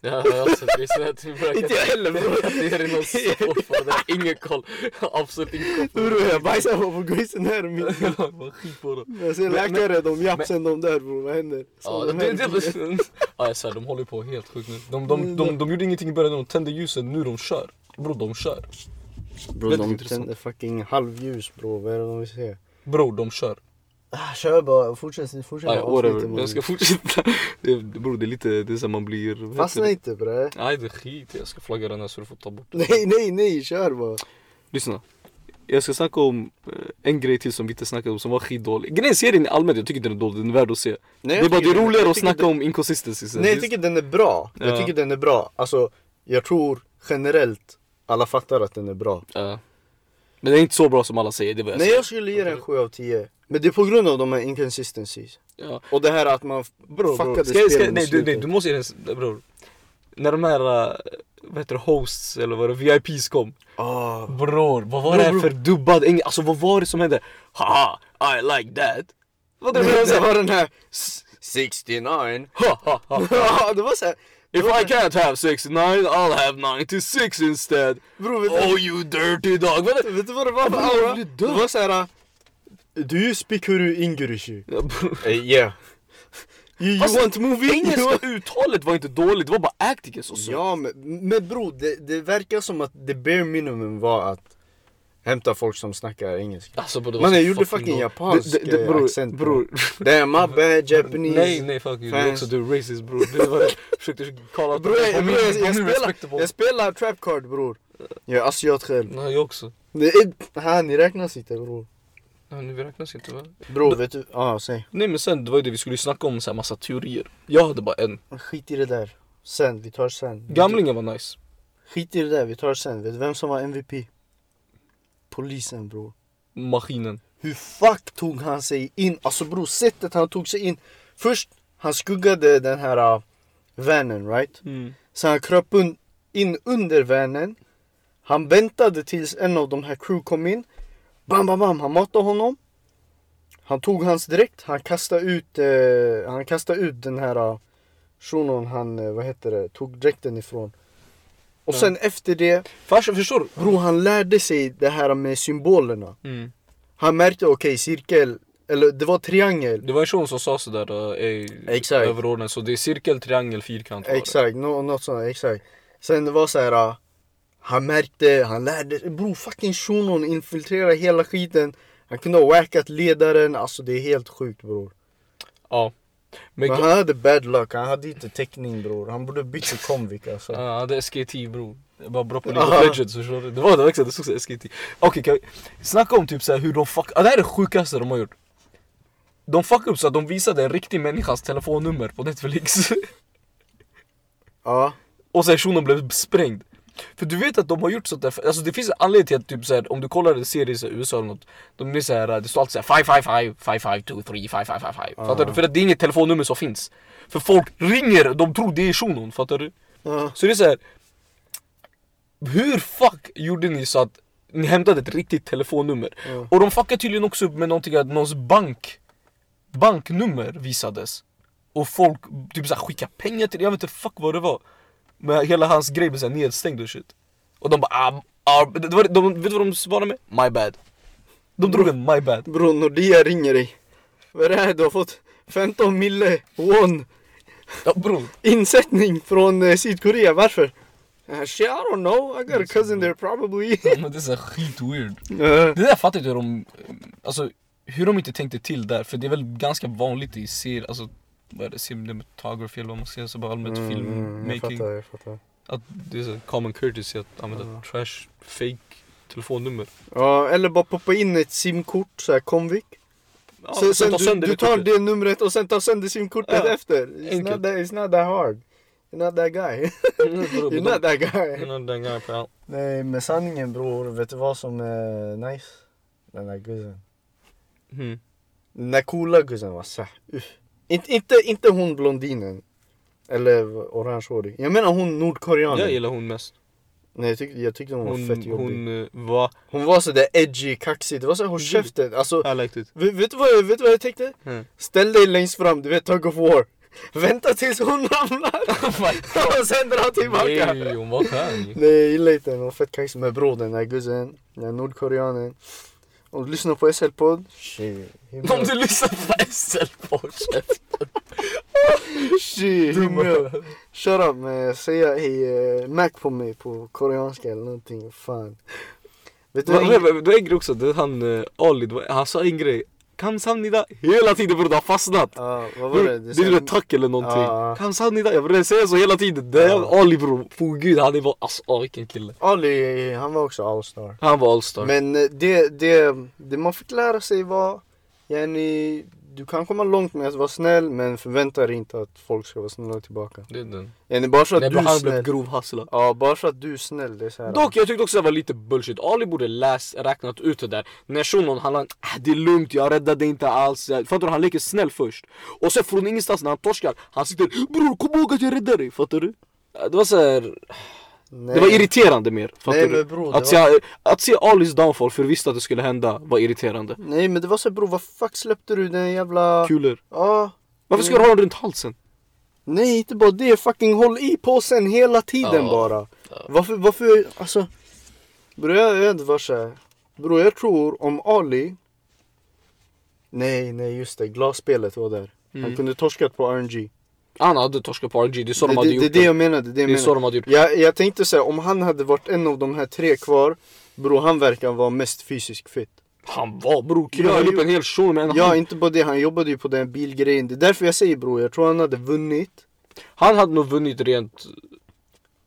[SPEAKER 2] Ja, alltså det är så att vi brukar...
[SPEAKER 1] Inte jag heller, bror.
[SPEAKER 2] Det är någon soppa, ingen koll. Absolut ingen koll.
[SPEAKER 1] Bror jag bajsar på Grey's Anatomy.
[SPEAKER 2] Vad skit på dem.
[SPEAKER 1] Jag ser läkare, de japsen, de där bror, vad händer? Typ
[SPEAKER 2] Ja,
[SPEAKER 1] Så de
[SPEAKER 2] det,
[SPEAKER 1] här-
[SPEAKER 2] det, ja, jag svär, de håller på helt sjukt nu. De,
[SPEAKER 1] Mm,
[SPEAKER 2] de, de, de, gjorde ingenting i början, de tände ljusen, nu de kör. Bror, de kör.
[SPEAKER 1] Bror
[SPEAKER 2] väldigt
[SPEAKER 1] de
[SPEAKER 2] intressant.
[SPEAKER 1] tänder fucking halvljus bror, vad är det de vill se?
[SPEAKER 2] Bror, de kör.
[SPEAKER 1] Ah, kör bara, fortsätt, fortsätt
[SPEAKER 2] Ja, ja, whatever. Jag ska fortsätta. Det, bror, det är lite, det är så här, man blir... vad heter
[SPEAKER 1] Fastna
[SPEAKER 2] det?
[SPEAKER 1] inte bre.
[SPEAKER 2] Nej, det är skit. Jag ska flagga den här så du får ta bort den.
[SPEAKER 1] Nej, nej, nej, kör bara.
[SPEAKER 2] Lyssna. Jag ska snacka om eh, en grej till som vi inte snackade om som var skitdålig. Grejen är, serien i allmänt, jag tycker den är dålig, den är värd att se.
[SPEAKER 1] Nej,
[SPEAKER 2] det är
[SPEAKER 1] jag
[SPEAKER 2] bara det är
[SPEAKER 1] tycker- jag
[SPEAKER 2] roligare att
[SPEAKER 1] tycker
[SPEAKER 2] snacka
[SPEAKER 1] det-
[SPEAKER 2] om inconsistencies.
[SPEAKER 1] Nej jag tycker den är bra,
[SPEAKER 2] Ja.
[SPEAKER 1] jag tycker den är bra Alltså jag tror generellt alla fattar att den är bra
[SPEAKER 2] Ja. Men det är inte så bra som alla säger, det var jag
[SPEAKER 1] Nej
[SPEAKER 2] säger.
[SPEAKER 1] jag skulle ge den 7 av 10 Men det är på grund av de här inconsistencies
[SPEAKER 2] Ja.
[SPEAKER 1] Och det här att man f-
[SPEAKER 2] Bror, bror.
[SPEAKER 1] fuckade
[SPEAKER 2] Ska, ska,
[SPEAKER 1] spelen
[SPEAKER 2] nej,
[SPEAKER 1] i
[SPEAKER 2] du, nej
[SPEAKER 1] slutet.
[SPEAKER 2] du måste ge den, s- bror. När de här, äh, vad heter det, hosts eller vad det VIPs kom.
[SPEAKER 1] Ah.
[SPEAKER 2] Bror, vad var
[SPEAKER 1] Bror,
[SPEAKER 2] det här
[SPEAKER 1] bror.
[SPEAKER 2] för dubbad engelska? Alltså vad var det som hände? Haha, I like that. Vad det var
[SPEAKER 1] Det
[SPEAKER 2] såhär,
[SPEAKER 1] var den här s- 69
[SPEAKER 2] ha ha ha.
[SPEAKER 1] Ja, Det var såhär
[SPEAKER 2] If I can't have 69 I'll have 96 instead.
[SPEAKER 1] Bror vet,
[SPEAKER 2] Oh you dirty dog. Vad
[SPEAKER 1] du,
[SPEAKER 2] det?
[SPEAKER 1] vet du vad det var för
[SPEAKER 2] Bror,
[SPEAKER 1] aura?
[SPEAKER 2] blir du
[SPEAKER 1] Det
[SPEAKER 2] dum?
[SPEAKER 1] var såhär Do you speak Huru Ingrishi?
[SPEAKER 2] Ja, bror.
[SPEAKER 1] yeah You, you
[SPEAKER 2] Alltså,
[SPEAKER 1] want movie? You want-
[SPEAKER 2] Eh, Engelska uttalet var inte dåligt, det var bara acting och så.
[SPEAKER 1] Ja men, men bro, det, det verkar som att the bare minimum var att hämta folk som snackar engelska
[SPEAKER 2] Alltså, bror, det var
[SPEAKER 1] Mannen
[SPEAKER 2] så
[SPEAKER 1] gjorde fucking
[SPEAKER 2] dåligt.
[SPEAKER 1] japansk eh,
[SPEAKER 2] Det- det- det- bror,
[SPEAKER 1] accent
[SPEAKER 2] eh, bror.
[SPEAKER 1] Damn my bad Japanese
[SPEAKER 2] Nej nej fuck you, du är
[SPEAKER 1] fans.
[SPEAKER 2] också du är racist bror. Det var, jag försökte kalla
[SPEAKER 1] Bror jag,
[SPEAKER 2] på
[SPEAKER 1] jag,
[SPEAKER 2] min-
[SPEAKER 1] jag,
[SPEAKER 2] på min
[SPEAKER 1] spelar,
[SPEAKER 2] respectable.
[SPEAKER 1] jag spelar trap card bror Jag är asiat själv
[SPEAKER 2] Nej jag också.
[SPEAKER 1] Det är, ha, ni räknas inte bror
[SPEAKER 2] Ja, nu räknas inte va?
[SPEAKER 1] Bror vet du, ja ah, säg
[SPEAKER 2] Nej men sen det var ju det vi skulle snacka om, så här massa teorier. Jag hade bara en.
[SPEAKER 1] Skit i det där Sen, vi tar sen
[SPEAKER 2] Gamlingen var nice.
[SPEAKER 1] Skit i det där, vi tar sen Vet du vem som var MVP? Polisen bror
[SPEAKER 2] Maskinen.
[SPEAKER 1] Hur fuck tog han sig in? Alltså bror, sättet han tog sig in. Först, han skuggade den här uh, vanen right?
[SPEAKER 2] Mm.
[SPEAKER 1] Sen han kröp un- in under vanen. Han väntade tills en av de här crew kom in. Bam, bam, bam, han matade honom. Han tog hans dräkt, han kastade ut, eh, han kastade ut den här uh, shunon han, eh, vad heter det, tog dräkten ifrån. Och
[SPEAKER 2] Ja.
[SPEAKER 1] sen efter det,
[SPEAKER 2] Farsan förstår du?
[SPEAKER 1] bror han lärde sig det här med symbolerna.
[SPEAKER 2] Mm.
[SPEAKER 1] Han märkte okej cirkel, eller det var triangel.
[SPEAKER 2] Det var en shuno som sa sådär eh, i
[SPEAKER 1] Exakt.
[SPEAKER 2] överordnad så det är cirkel, triangel, fyrkant var det.
[SPEAKER 1] Exakt, nå- något sånt, exakt. Sen det var så här. ah, han märkte, han lärde sig. Bro fucking shunon infiltrerade hela skiten. Han kunde ha wackat ledaren, alltså det är helt sjukt bror.
[SPEAKER 2] Ja. Men,
[SPEAKER 1] Men
[SPEAKER 2] han...
[SPEAKER 1] han hade bad luck, han hade inte täckning bror. Han borde bytt till konvik alltså.
[SPEAKER 2] Ja, det är SKT bror. Jag bara bra på
[SPEAKER 1] Ja.
[SPEAKER 2] League of Legends förstår du? Det var det verkligen, det stod såhär SKT. Okej, kan vi snacka om typ såhär hur de fuck... Ah, det här är det sjukaste de har gjort. De fuckade upp så att de visade en riktig människas telefonnummer på Netflix.
[SPEAKER 1] Ja,
[SPEAKER 2] Och sen shunon blev sprängd. För du vet att de har gjort sånt där, alltså det finns en anledning till att typ såhär, om du kollar en serie i så här USA eller något De är såhär, det står alltid såhär 555, 5523, 5555 Fattar du? För att det är inget telefonnummer som finns För folk ringer, de tror det är shunon, fattar du?
[SPEAKER 1] ja.
[SPEAKER 2] Så det är såhär Hur fuck gjorde ni så att ni hämtade ett riktigt telefonnummer?
[SPEAKER 1] Ja.
[SPEAKER 2] Och de fuckade tydligen också upp med någonting att någons bank Banknummer visades Och folk typ såhär skickade pengar till jag vet inte fuck vad det var Men hela hans grej blev såhär nedstängd och shit Och de bara ah, ah, det var, de, Vet du vad de svarade med? My bad De drog en my bad
[SPEAKER 1] Bror Nordea ringer dig. Vad är det här? Du har fått 15 mille won
[SPEAKER 2] Ja bror
[SPEAKER 1] insättning från eh, Sydkorea. Varför? Uh, shit, I don't know. I got a cousin there probably.
[SPEAKER 2] Ja, Men det är såhär skit weird
[SPEAKER 1] Eh.
[SPEAKER 2] Det där fattar inte hur de, alltså hur de inte tänkte till där för det är väl ganska vanligt i serier, alltså vad är det, cinematography eller vad man säger, så bara allmänt filmmaking.
[SPEAKER 1] Jag Mm, fattar, jag fattar.
[SPEAKER 2] Att det är så common courtesy att använda trash, fake telefonnummer.
[SPEAKER 1] Ja, eller bara poppa in ett simkort, så här komvik.
[SPEAKER 2] Ja,
[SPEAKER 1] sen, sen
[SPEAKER 2] ta
[SPEAKER 1] du,
[SPEAKER 2] sönder
[SPEAKER 1] du tar
[SPEAKER 2] kortet.
[SPEAKER 1] det numret och sen tar sönder simkortet
[SPEAKER 2] Ja,
[SPEAKER 1] efter. It's
[SPEAKER 2] enkelt.
[SPEAKER 1] not, that, it's not that hard. You're not that guy.
[SPEAKER 2] Mm, bror,
[SPEAKER 1] You're
[SPEAKER 2] men
[SPEAKER 1] not that
[SPEAKER 2] de-
[SPEAKER 1] guy.
[SPEAKER 2] den- den grejen på- ja.
[SPEAKER 1] Nej, men sanningen bror, vet du vad som är nice? Den där gussen.
[SPEAKER 2] Mm.
[SPEAKER 1] Den där coola gussen var såhär, inte, inte, inte hon blondinen. Eller orangehårig. Jag menar hon nordkoreanen.
[SPEAKER 2] Jag gillar hon mest.
[SPEAKER 1] Nej, jag, tyck, jag tyckte hon var
[SPEAKER 2] Hon,
[SPEAKER 1] fett jobbig. Hon,
[SPEAKER 2] hon Mm. eh, var,
[SPEAKER 1] var sådär edgy, kaxig. Det var såhär, håll
[SPEAKER 2] Gillar-
[SPEAKER 1] käften. Alltså,
[SPEAKER 2] I liked it.
[SPEAKER 1] Vet, vet, du vad jag, vet du vad jag tänkte?
[SPEAKER 2] Mm.
[SPEAKER 1] Ställ dig längst fram, du vet Tug of War. Vänta tills hon ramlar och sen dra tillbaka.
[SPEAKER 2] Nej hon var skön ju.
[SPEAKER 1] Nej jag gillar inte den, hon var fett kaxig. Men bror den där guzzen, den där nordkoreanen. Om du lyssnar på SL-podd. Shit,
[SPEAKER 2] Om du lyssnar på SL-podden.
[SPEAKER 1] shit, himla. Shut up men säga hej eh, Mac på mig på koreanska eller någonting. Fan. Vet du
[SPEAKER 2] Men,
[SPEAKER 1] vad?
[SPEAKER 2] men, men, det är en grej också, det är han eh, Ali, det var- han sa en grej Kamsamnida, hela tiden bror det har fastnat!
[SPEAKER 1] Ja, vad var
[SPEAKER 2] Bror,
[SPEAKER 1] det?
[SPEAKER 2] det är väl tack eller
[SPEAKER 1] Ja.
[SPEAKER 2] någonting? Kamsamnida, jag brukar säga så hela tiden! Det är
[SPEAKER 1] Ja.
[SPEAKER 2] Ali bror, på gud han är bara, alltså åh, vilken kille
[SPEAKER 1] Ali, han var också allstar.
[SPEAKER 2] Han var allstar
[SPEAKER 1] Men eh, det, det, det man fick lära sig var, yani, du kan komma långt med att vara snäll men förvänta dig inte att folk ska vara snälla tillbaka.
[SPEAKER 2] Det är den.
[SPEAKER 1] Ja, det är bara så att
[SPEAKER 2] Nej,
[SPEAKER 1] du
[SPEAKER 2] men
[SPEAKER 1] är
[SPEAKER 2] han blev
[SPEAKER 1] snäll.
[SPEAKER 2] grovhasslad.
[SPEAKER 1] Ja, bara så att du är snäll. Det är så här.
[SPEAKER 2] Dock, jag tyckte också det var lite bullshit. Ali borde läst, räknat ut det där. När shunon, han, han äh, det är lugnt, jag räddade inte alls. Fattar du? Han leker snäll först. Och sen från ingenstans när han torskar, han sitter bror kom ihåg att jag räddade dig. Fattar du? Äh, Det var så här,
[SPEAKER 1] Nej.
[SPEAKER 2] det var irriterande mer. Fattar
[SPEAKER 1] Nej,
[SPEAKER 2] du?
[SPEAKER 1] men bror, det
[SPEAKER 2] att, se, att se Alis downfall, för visste att det skulle hända, var irriterande.
[SPEAKER 1] Nej men det var så här, bror, vad fuck släppte du den jävla...
[SPEAKER 2] Kulor.
[SPEAKER 1] Ja. Mm.
[SPEAKER 2] Varför ska du ha den runt halsen?
[SPEAKER 1] Nej inte bara det, fucking håll i påsen hela tiden
[SPEAKER 2] Ja.
[SPEAKER 1] bara. Varför, varför, alltså. Bror jag jag vet inte vad så här. Bror jag tror om Ali. Nej, nej just det, glasspelet var där. Han kunde torskat på RNG.
[SPEAKER 2] Han hade torskat på RNG, det är Mm. så de
[SPEAKER 1] det,
[SPEAKER 2] hade
[SPEAKER 1] det, det
[SPEAKER 2] gjort
[SPEAKER 1] är det jag menade. Det, är
[SPEAKER 2] Det är
[SPEAKER 1] jag,
[SPEAKER 2] så de
[SPEAKER 1] menade.
[SPEAKER 2] hade gjort.
[SPEAKER 1] Jag, jag tänkte säga om han hade varit en av de här tre kvar. Bror han verkar vara mest fysiskt fit.
[SPEAKER 2] Han var bror, killen
[SPEAKER 1] Ja,
[SPEAKER 2] höll upp
[SPEAKER 1] jo.
[SPEAKER 2] en hel shuno med en hand.
[SPEAKER 1] Ja inte bara det, han jobbade ju på den bilgrejen. Det är därför jag säger bror, jag tror han hade vunnit.
[SPEAKER 2] Han hade nog vunnit rent...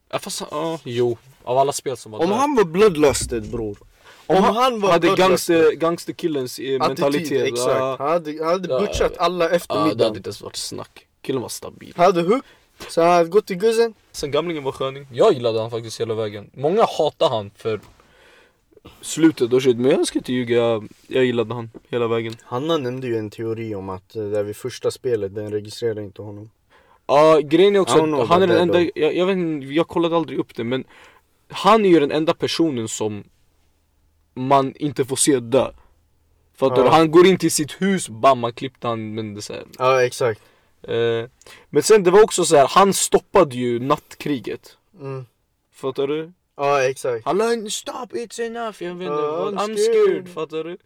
[SPEAKER 2] Ja, fast han- ja, jo. Av alla spel som var
[SPEAKER 1] Om
[SPEAKER 2] där.
[SPEAKER 1] han var bloodlusted bror. Om, han var
[SPEAKER 2] hade
[SPEAKER 1] bloodlusted-
[SPEAKER 2] gangster, gangsterkillens eh,
[SPEAKER 1] Attityd,
[SPEAKER 2] mentalitet.
[SPEAKER 1] exakt. Han hade, han hade
[SPEAKER 2] Ja.
[SPEAKER 1] butchat alla efter
[SPEAKER 2] ja, det hade
[SPEAKER 1] middagen.
[SPEAKER 2] inte ens varit snack. Killen var stabil.
[SPEAKER 1] Han hade hugg, så han hade gått till guzzen.
[SPEAKER 2] Sen gamlingen var sköning. Jag gillade han faktiskt hela vägen. Många hatar han för slutet och shit. Men jag ska inte ljuga. Jag, jag gillade han hela vägen.
[SPEAKER 1] Hanna nämnde ju en teori om att eh, där vid första spelet, den registrerar inte honom.
[SPEAKER 2] Ja, grejen är
[SPEAKER 1] I
[SPEAKER 2] också
[SPEAKER 1] don't know
[SPEAKER 2] att han är
[SPEAKER 1] about
[SPEAKER 2] den
[SPEAKER 1] that,
[SPEAKER 2] enda, jag, jag vet inte, jag kollade aldrig upp det men Han är ju den enda personen som man inte får se dö Fattar
[SPEAKER 1] Ja.
[SPEAKER 2] du? Han går in till sitt hus, bam man klippte han men det så här.
[SPEAKER 1] Ja exakt.
[SPEAKER 2] Eh, Men sen det var också så här, han stoppade ju nattkriget
[SPEAKER 1] Mm.
[SPEAKER 2] Fattar du?
[SPEAKER 1] Ja exakt.
[SPEAKER 2] Han la en stop it's enough, jag vet inte
[SPEAKER 1] Ja,
[SPEAKER 2] vad,
[SPEAKER 1] I'm
[SPEAKER 2] I'm
[SPEAKER 1] scared."
[SPEAKER 2] scared, fattar du?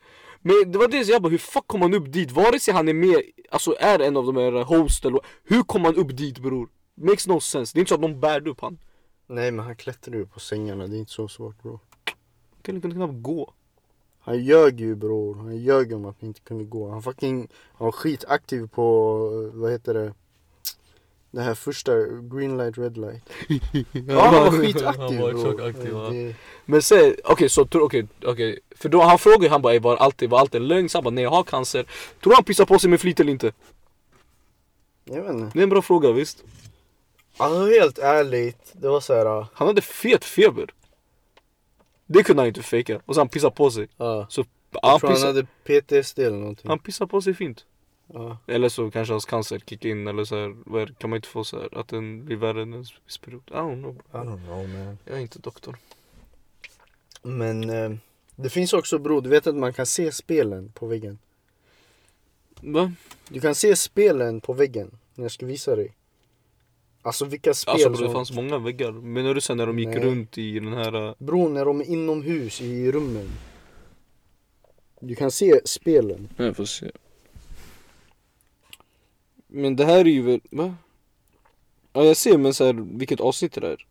[SPEAKER 2] Men det var det så jag bara, hur fuck kom han upp dit? Vare sig han är med, alltså är en av de här host eller hur kom han upp dit bror? Makes no sense, det är inte så att de bärde upp han
[SPEAKER 1] Nej men han klättrar ju på sängarna, det är inte så svårt bror.
[SPEAKER 2] Killen kunde knappt gå
[SPEAKER 1] Han ljög ju bror, han ljög om att han inte kunde gå. Han fucking, han var skitaktiv på, eh, vad heter det? Det här första, green light, red light.
[SPEAKER 2] Ah,
[SPEAKER 1] Ja han var skitaktiv bror. Det-
[SPEAKER 2] Men sen, okej så, tror- okej, okej För då han frågade han bara, "Ey, var allt, var allt en lögn? Så han bara, nej jag har cancer Tror du han pissar på sig med flit eller inte?
[SPEAKER 1] Jag vet inte.
[SPEAKER 2] Det är en bra fråga visst
[SPEAKER 1] Alltså helt ärligt, det var ah. såhär...
[SPEAKER 2] Han hade fet feber Det kunde han inte fejka, och så han pissar på sig
[SPEAKER 1] Ja.
[SPEAKER 2] Så
[SPEAKER 1] Jag
[SPEAKER 2] han
[SPEAKER 1] tror han
[SPEAKER 2] pissar,
[SPEAKER 1] hade PTSD eller någonting.
[SPEAKER 2] han pissar på sig fint
[SPEAKER 1] Ja.
[SPEAKER 2] Eller så kanske hans cancer kickar in eller så här, vad är, det- kan man inte få så här att den blir värre än en viss period? I don't know.
[SPEAKER 1] I don't know man.
[SPEAKER 2] Jag är inte doktor.
[SPEAKER 1] Men eh, det finns också bror, du vet att man kan se spelen på väggen.
[SPEAKER 2] Va?
[SPEAKER 1] Du kan se spelen på väggen. Jag ska visa dig. Alltså vilka spel
[SPEAKER 2] Alltså bro, det
[SPEAKER 1] som...
[SPEAKER 2] fanns många väggar. Menar du sen när de gick
[SPEAKER 1] Nej.
[SPEAKER 2] runt i den här... äh,
[SPEAKER 1] Bror, när de är inomhus i rummen. Du kan se spelen.
[SPEAKER 2] Jag får se. Men det här är ju väl... Va? Ja jag ser men så här, vilket avsnitt det är.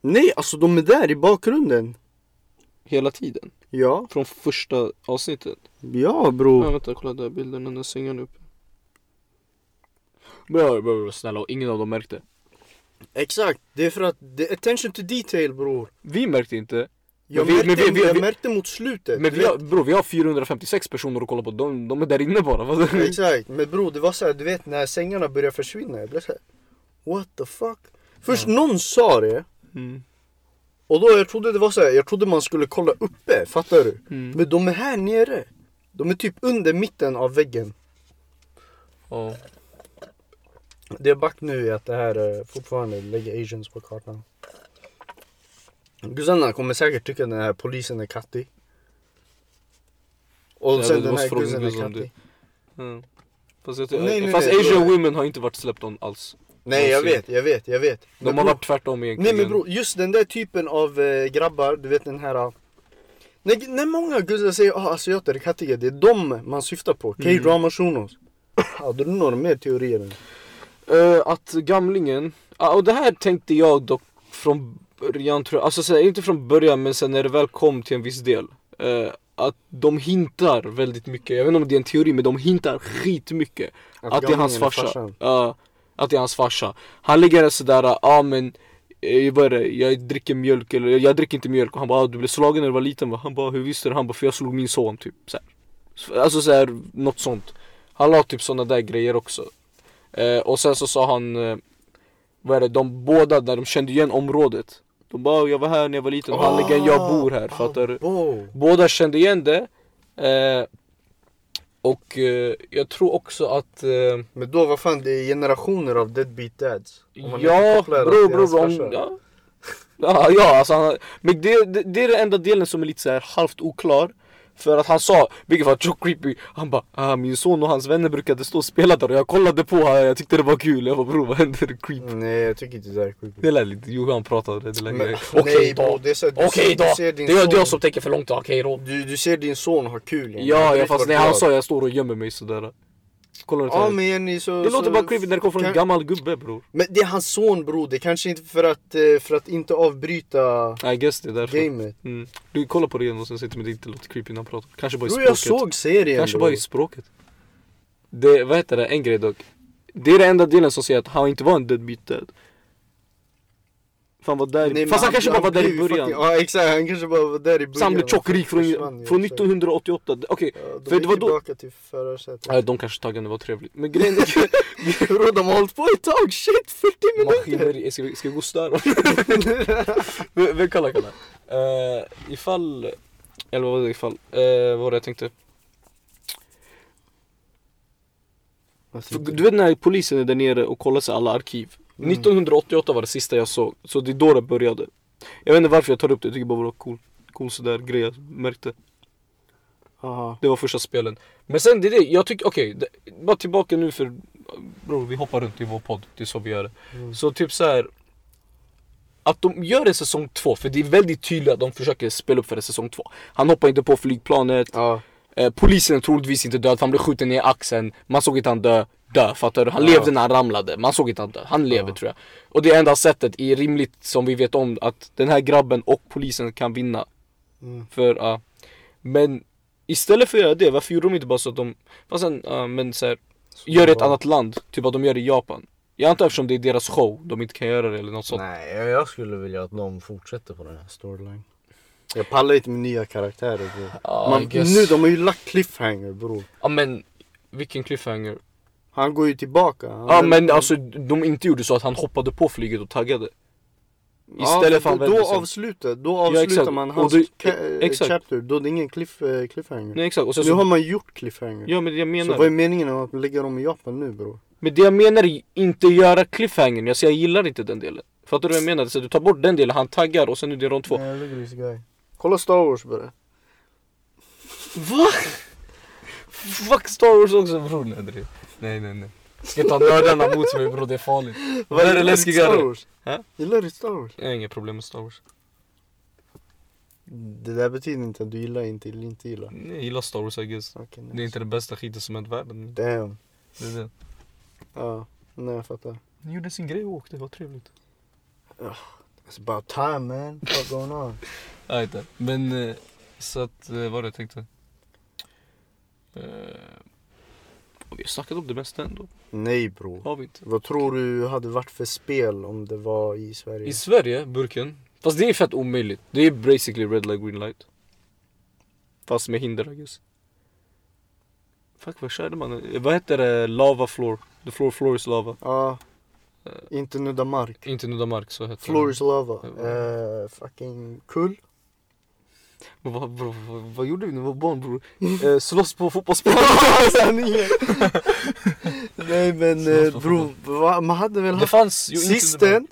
[SPEAKER 1] Nej, alltså de är där i bakgrunden.
[SPEAKER 2] Hela tiden.
[SPEAKER 1] Ja,
[SPEAKER 2] Från första avsnittet.
[SPEAKER 1] ja bror.
[SPEAKER 2] Ja, vänta, kolla där bilden när sängen upp. Bra, bra, bra, snälla och ingen av dem märkte.
[SPEAKER 1] Exakt, det är för att det är attention to detail bror.
[SPEAKER 2] Vi märkte inte.
[SPEAKER 1] Jag,
[SPEAKER 2] Men vi-
[SPEAKER 1] märkte,
[SPEAKER 2] men vi- vi-
[SPEAKER 1] jag
[SPEAKER 2] vi-
[SPEAKER 1] märkte mot slutet.
[SPEAKER 2] Men
[SPEAKER 1] du
[SPEAKER 2] vi
[SPEAKER 1] vet.
[SPEAKER 2] har, bro, vi har 456 personer att kolla på, de, de är där inne bara. Vad?
[SPEAKER 1] Mm. Exakt, men bror det var så här, du vet när sängarna började försvinna, jag blev så här, What the fuck? Först någon sa det,
[SPEAKER 2] Mm.
[SPEAKER 1] och då jag trodde det var så här, jag trodde man skulle kolla uppe, fattar du?
[SPEAKER 2] Mm.
[SPEAKER 1] Men de är här nere. De är typ under mitten av väggen.
[SPEAKER 2] Ja.
[SPEAKER 1] Det jag back nu är att det här eh, fortfarande lägger asians på kartan. Gusanna kommer säkert tycka den här polisen är kattig. Och
[SPEAKER 2] Ja,
[SPEAKER 1] sen
[SPEAKER 2] du
[SPEAKER 1] den
[SPEAKER 2] måste
[SPEAKER 1] här
[SPEAKER 2] fråga
[SPEAKER 1] gussen
[SPEAKER 2] Gus
[SPEAKER 1] är
[SPEAKER 2] om det.
[SPEAKER 1] kattig.
[SPEAKER 2] Mm. Fast, jag, tycker-
[SPEAKER 1] Nej, nej,
[SPEAKER 2] fast
[SPEAKER 1] nej,
[SPEAKER 2] Asian
[SPEAKER 1] bro.
[SPEAKER 2] women har inte varit släppt on alls.
[SPEAKER 1] Nej jag vet, jag vet, jag vet.
[SPEAKER 2] De
[SPEAKER 1] Men
[SPEAKER 2] har
[SPEAKER 1] bror,
[SPEAKER 2] varit tvärtom
[SPEAKER 1] Nej
[SPEAKER 2] egentligen.
[SPEAKER 1] men bror, just den där typen av eh, grabbar, du vet den här eh, när, när många guzzar säger ah, asiater är kattiga, det är dem man syftar på.
[SPEAKER 2] Mm.
[SPEAKER 1] K-drama shunos. Hade du några mer teorier? än-
[SPEAKER 2] Eh, att gamlingen, ah, och det här tänkte jag dock från början tror jag, alltså så här, inte från början men sen när det väl kom till en viss del. eh, att de hintar väldigt mycket, jag vet inte om det är en teori men de hintar skitmycket. Att,
[SPEAKER 1] Att
[SPEAKER 2] att det är hans
[SPEAKER 1] gamlingen är
[SPEAKER 2] farsa.
[SPEAKER 1] farsan.
[SPEAKER 2] Ja, att det är hans farsa. Han ligger där sådär, ja ah, men eh, vad är det? Jag dricker mjölk eller jag dricker inte mjölk och han bara ah, du blev slagen när du var liten va? Han bara hur visste du? Han bara för jag slog min son typ så här. Alltså såhär, något sånt. Han la typ sådana där grejer också. Eh, och sen så sa han, eh, vad är det, de båda där de kände igen området. De bara, jag var här när jag var liten, Halligen, jag bor här, fattar du?
[SPEAKER 1] Oh.
[SPEAKER 2] Båda kände igen det. Eh, och eh, jag tror också att eh,
[SPEAKER 1] Men då, vad fan, det är generationer av deadbeat dads. Om man inte
[SPEAKER 2] Ja,
[SPEAKER 1] kopplar det
[SPEAKER 2] bror
[SPEAKER 1] till hans
[SPEAKER 2] bror om,
[SPEAKER 1] farsa.
[SPEAKER 2] ja. ja, ja alltså han, Men det, det, det är den enda delen som är lite så här halvt oklar För att han sa, vilket var så creepy Han bara, ah, min son och hans vänner brukade stå och spela där och jag kollade på här, jag tyckte det var kul Jag bara bror vad händer? Creep
[SPEAKER 1] Nej, jag tycker inte det där är creepy.
[SPEAKER 2] Det lät lite, jo han pratade, det lät
[SPEAKER 1] Men-
[SPEAKER 2] Okej
[SPEAKER 1] nej,
[SPEAKER 2] då,
[SPEAKER 1] bror, det är så här, du
[SPEAKER 2] okej
[SPEAKER 1] ser-
[SPEAKER 2] då,
[SPEAKER 1] du
[SPEAKER 2] det
[SPEAKER 1] ser
[SPEAKER 2] är
[SPEAKER 1] din
[SPEAKER 2] jag- det är jag
[SPEAKER 1] son.
[SPEAKER 2] som tänker för långt då, okej då
[SPEAKER 1] Du, du ser din son ha kul igen.
[SPEAKER 2] Ja, ja
[SPEAKER 1] vet
[SPEAKER 2] fast
[SPEAKER 1] vart
[SPEAKER 2] nej
[SPEAKER 1] du
[SPEAKER 2] han
[SPEAKER 1] är.
[SPEAKER 2] sa jag står och gömmer mig sådär Kollar åt
[SPEAKER 1] Ja
[SPEAKER 2] henne.
[SPEAKER 1] men Jenny så...
[SPEAKER 2] Det låter
[SPEAKER 1] så,
[SPEAKER 2] bara creepy när det kommer från en
[SPEAKER 1] kan-
[SPEAKER 2] gammal gubbe bror
[SPEAKER 1] Men det är hans son bror, det är kanske inte för att, eh, för att inte avbryta
[SPEAKER 2] I guess det är därför
[SPEAKER 1] gamet.
[SPEAKER 2] Mm. Du kollar på det igen och sen säger till mig att det inte låter creepy när han pratar. Kanske bara i
[SPEAKER 1] Bror
[SPEAKER 2] språket.
[SPEAKER 1] jag såg serien
[SPEAKER 2] Kanske
[SPEAKER 1] bror.
[SPEAKER 2] bara i språket. Det, vad heter det, en grej dock. Det är den enda delen som säger att han inte var en deadbeat dad. Fan var där
[SPEAKER 1] Nej, men
[SPEAKER 2] Fast han kanske bara var där
[SPEAKER 1] blev
[SPEAKER 2] i
[SPEAKER 1] ju
[SPEAKER 2] början.
[SPEAKER 1] Fucking, ja exakt, han kanske bara var där i början.
[SPEAKER 2] Så han blev
[SPEAKER 1] och
[SPEAKER 2] tjock rik från,
[SPEAKER 1] försvann, ja,
[SPEAKER 2] från
[SPEAKER 1] exakt.
[SPEAKER 2] 1988. Det- Okej,
[SPEAKER 1] Ja, de
[SPEAKER 2] för
[SPEAKER 1] gick
[SPEAKER 2] det var då...
[SPEAKER 1] tillbaka till förra sättet.
[SPEAKER 2] Nej, de kanske taggade, det var trevligt. Men grejen är
[SPEAKER 1] Bror de har hållit på ett tag, shit 40 minuter!
[SPEAKER 2] maskineri, ska vi, ska vi gå och störa Men men kolla, kolla. Uh, ifall, eller vad var det ifall, Eh, vad var det jag tänkte? För Du vet när polisen är där nere och kollar sig alla arkiv.
[SPEAKER 1] Typ. Mm.
[SPEAKER 2] 1988 var det sista jag såg, så det är då det började. Jag vet inte varför jag tar upp det, jag tycker bara det var cool. Cool sådär grej jag märkte.
[SPEAKER 1] Aha.
[SPEAKER 2] Det var första spelen. Men sen det är det, jag tycker, okej, det- bara tillbaka nu för bror vi hoppar runt i vår podd, det är så vi gör det.
[SPEAKER 1] Mm.
[SPEAKER 2] Så typ så här. Att de gör en säsong två, för det är väldigt tydligt att de försöker spela upp för en säsong två. Han hoppar inte på flygplanet,
[SPEAKER 1] Ja.
[SPEAKER 2] Eh, polisen är troligtvis inte död för han blev skjuten i axeln. Man såg inte han dö. Dö, fattar du? Han
[SPEAKER 1] Ja.
[SPEAKER 2] levde när han ramlade. Man såg inte han dö. Han lever tror jag. Och det är enda sättet i rimligt som vi vet om att den här grabben och polisen kan vinna.
[SPEAKER 1] Mm.
[SPEAKER 2] För, ja. men istället för att göra det, varför gjorde de inte bara så att de, fast sen, ja, men så här, gör det i ett
[SPEAKER 1] bra.
[SPEAKER 2] annat land. Typ att de gör det i Japan. Jag antar eftersom det är deras show, de inte kan göra det eller något sånt.
[SPEAKER 3] Nej, jag- jag skulle vilja att någon fortsätter på den här storylinen.
[SPEAKER 1] Jag pallar inte med nya karaktärer bror.
[SPEAKER 2] Ja, I
[SPEAKER 1] Man,
[SPEAKER 2] guess.
[SPEAKER 1] nu de har ju lagt cliffhanger bror.
[SPEAKER 2] Ja men, vilken cliffhanger.
[SPEAKER 1] Han går ju tillbaka. Han
[SPEAKER 2] Ja men alltså de inte gjorde så att han hoppade på flyget och taggade. Istället för
[SPEAKER 1] då,
[SPEAKER 2] han vände
[SPEAKER 1] då
[SPEAKER 2] sig.
[SPEAKER 1] avslutar, då
[SPEAKER 2] Ja,
[SPEAKER 1] avslutar
[SPEAKER 2] exakt.
[SPEAKER 1] man
[SPEAKER 2] Och
[SPEAKER 1] hans
[SPEAKER 2] det-
[SPEAKER 1] ka-
[SPEAKER 2] exakt.
[SPEAKER 1] chapter, då är det ingen cliff, eh, cliffhanger.
[SPEAKER 2] Nej exakt, och sen
[SPEAKER 1] nu
[SPEAKER 2] så,
[SPEAKER 1] har man gjort cliffhanger.
[SPEAKER 2] ja men jag
[SPEAKER 1] så
[SPEAKER 2] menar
[SPEAKER 1] vad är meningen med att lägga dem i Japan nu bror?
[SPEAKER 2] Men det jag menar är inte göra cliffhangern, jag säger jag gillar inte den delen Fattar du vad jag menar? Så du tar bort den delen, han taggar och sen är det rond två
[SPEAKER 1] Nej, look at this guy. Kolla Star Wars bara.
[SPEAKER 2] Va? Fuck Star Wars också bror nej, det- nej nej nej Ska ta nördarna mot mig bror, det är farligt Vad är det
[SPEAKER 1] Star
[SPEAKER 2] läskigare?
[SPEAKER 1] Wars?
[SPEAKER 2] Hä?
[SPEAKER 1] Gillar du Star Wars?
[SPEAKER 2] Jag har inga problem med Star Wars
[SPEAKER 1] Det där betyder inte att du gillar inte eller inte gillar.
[SPEAKER 2] Nej, Jag gillar Star Wars I guess
[SPEAKER 1] Okay,
[SPEAKER 2] Det är inte den bästa skiten som hänt världen
[SPEAKER 1] Damn.
[SPEAKER 2] Det är det
[SPEAKER 1] Ja, nej jag fattar.
[SPEAKER 2] Ni gjorde sin grej och åkte, det var trevligt
[SPEAKER 1] It's about time man. What's going on?
[SPEAKER 2] Jag vet inte, men eh, så att, eh, vad var det jag tänkte? Eh, vi har snackat om det mesta ändå,
[SPEAKER 1] Nej bror.
[SPEAKER 2] har vi inte?
[SPEAKER 1] Vad tror du hade varit för spel om det var i Sverige?
[SPEAKER 2] I Sverige, burken. Fast det är fett omöjligt. Det är basically red light, green light. Fast med hinder I guess. Fuck vad körde man? Eh, Vad heter det? Lava floor. The floor, floor is lava.
[SPEAKER 1] Ja.
[SPEAKER 2] Eh.
[SPEAKER 1] Inte nudda mark.
[SPEAKER 2] Inte nudda mark så heter
[SPEAKER 1] Floor is lava.
[SPEAKER 2] Ja.
[SPEAKER 1] Eh, fucking kull.
[SPEAKER 2] det. Vad, vad, vad, vad gjorde vi när vi var barn bror? Eh, slåss på fotbollsplanen.
[SPEAKER 1] Sanningen. Nej men eh, bro, va, man hade väl
[SPEAKER 2] det
[SPEAKER 1] haft
[SPEAKER 2] fanns ju inte
[SPEAKER 1] Sisten.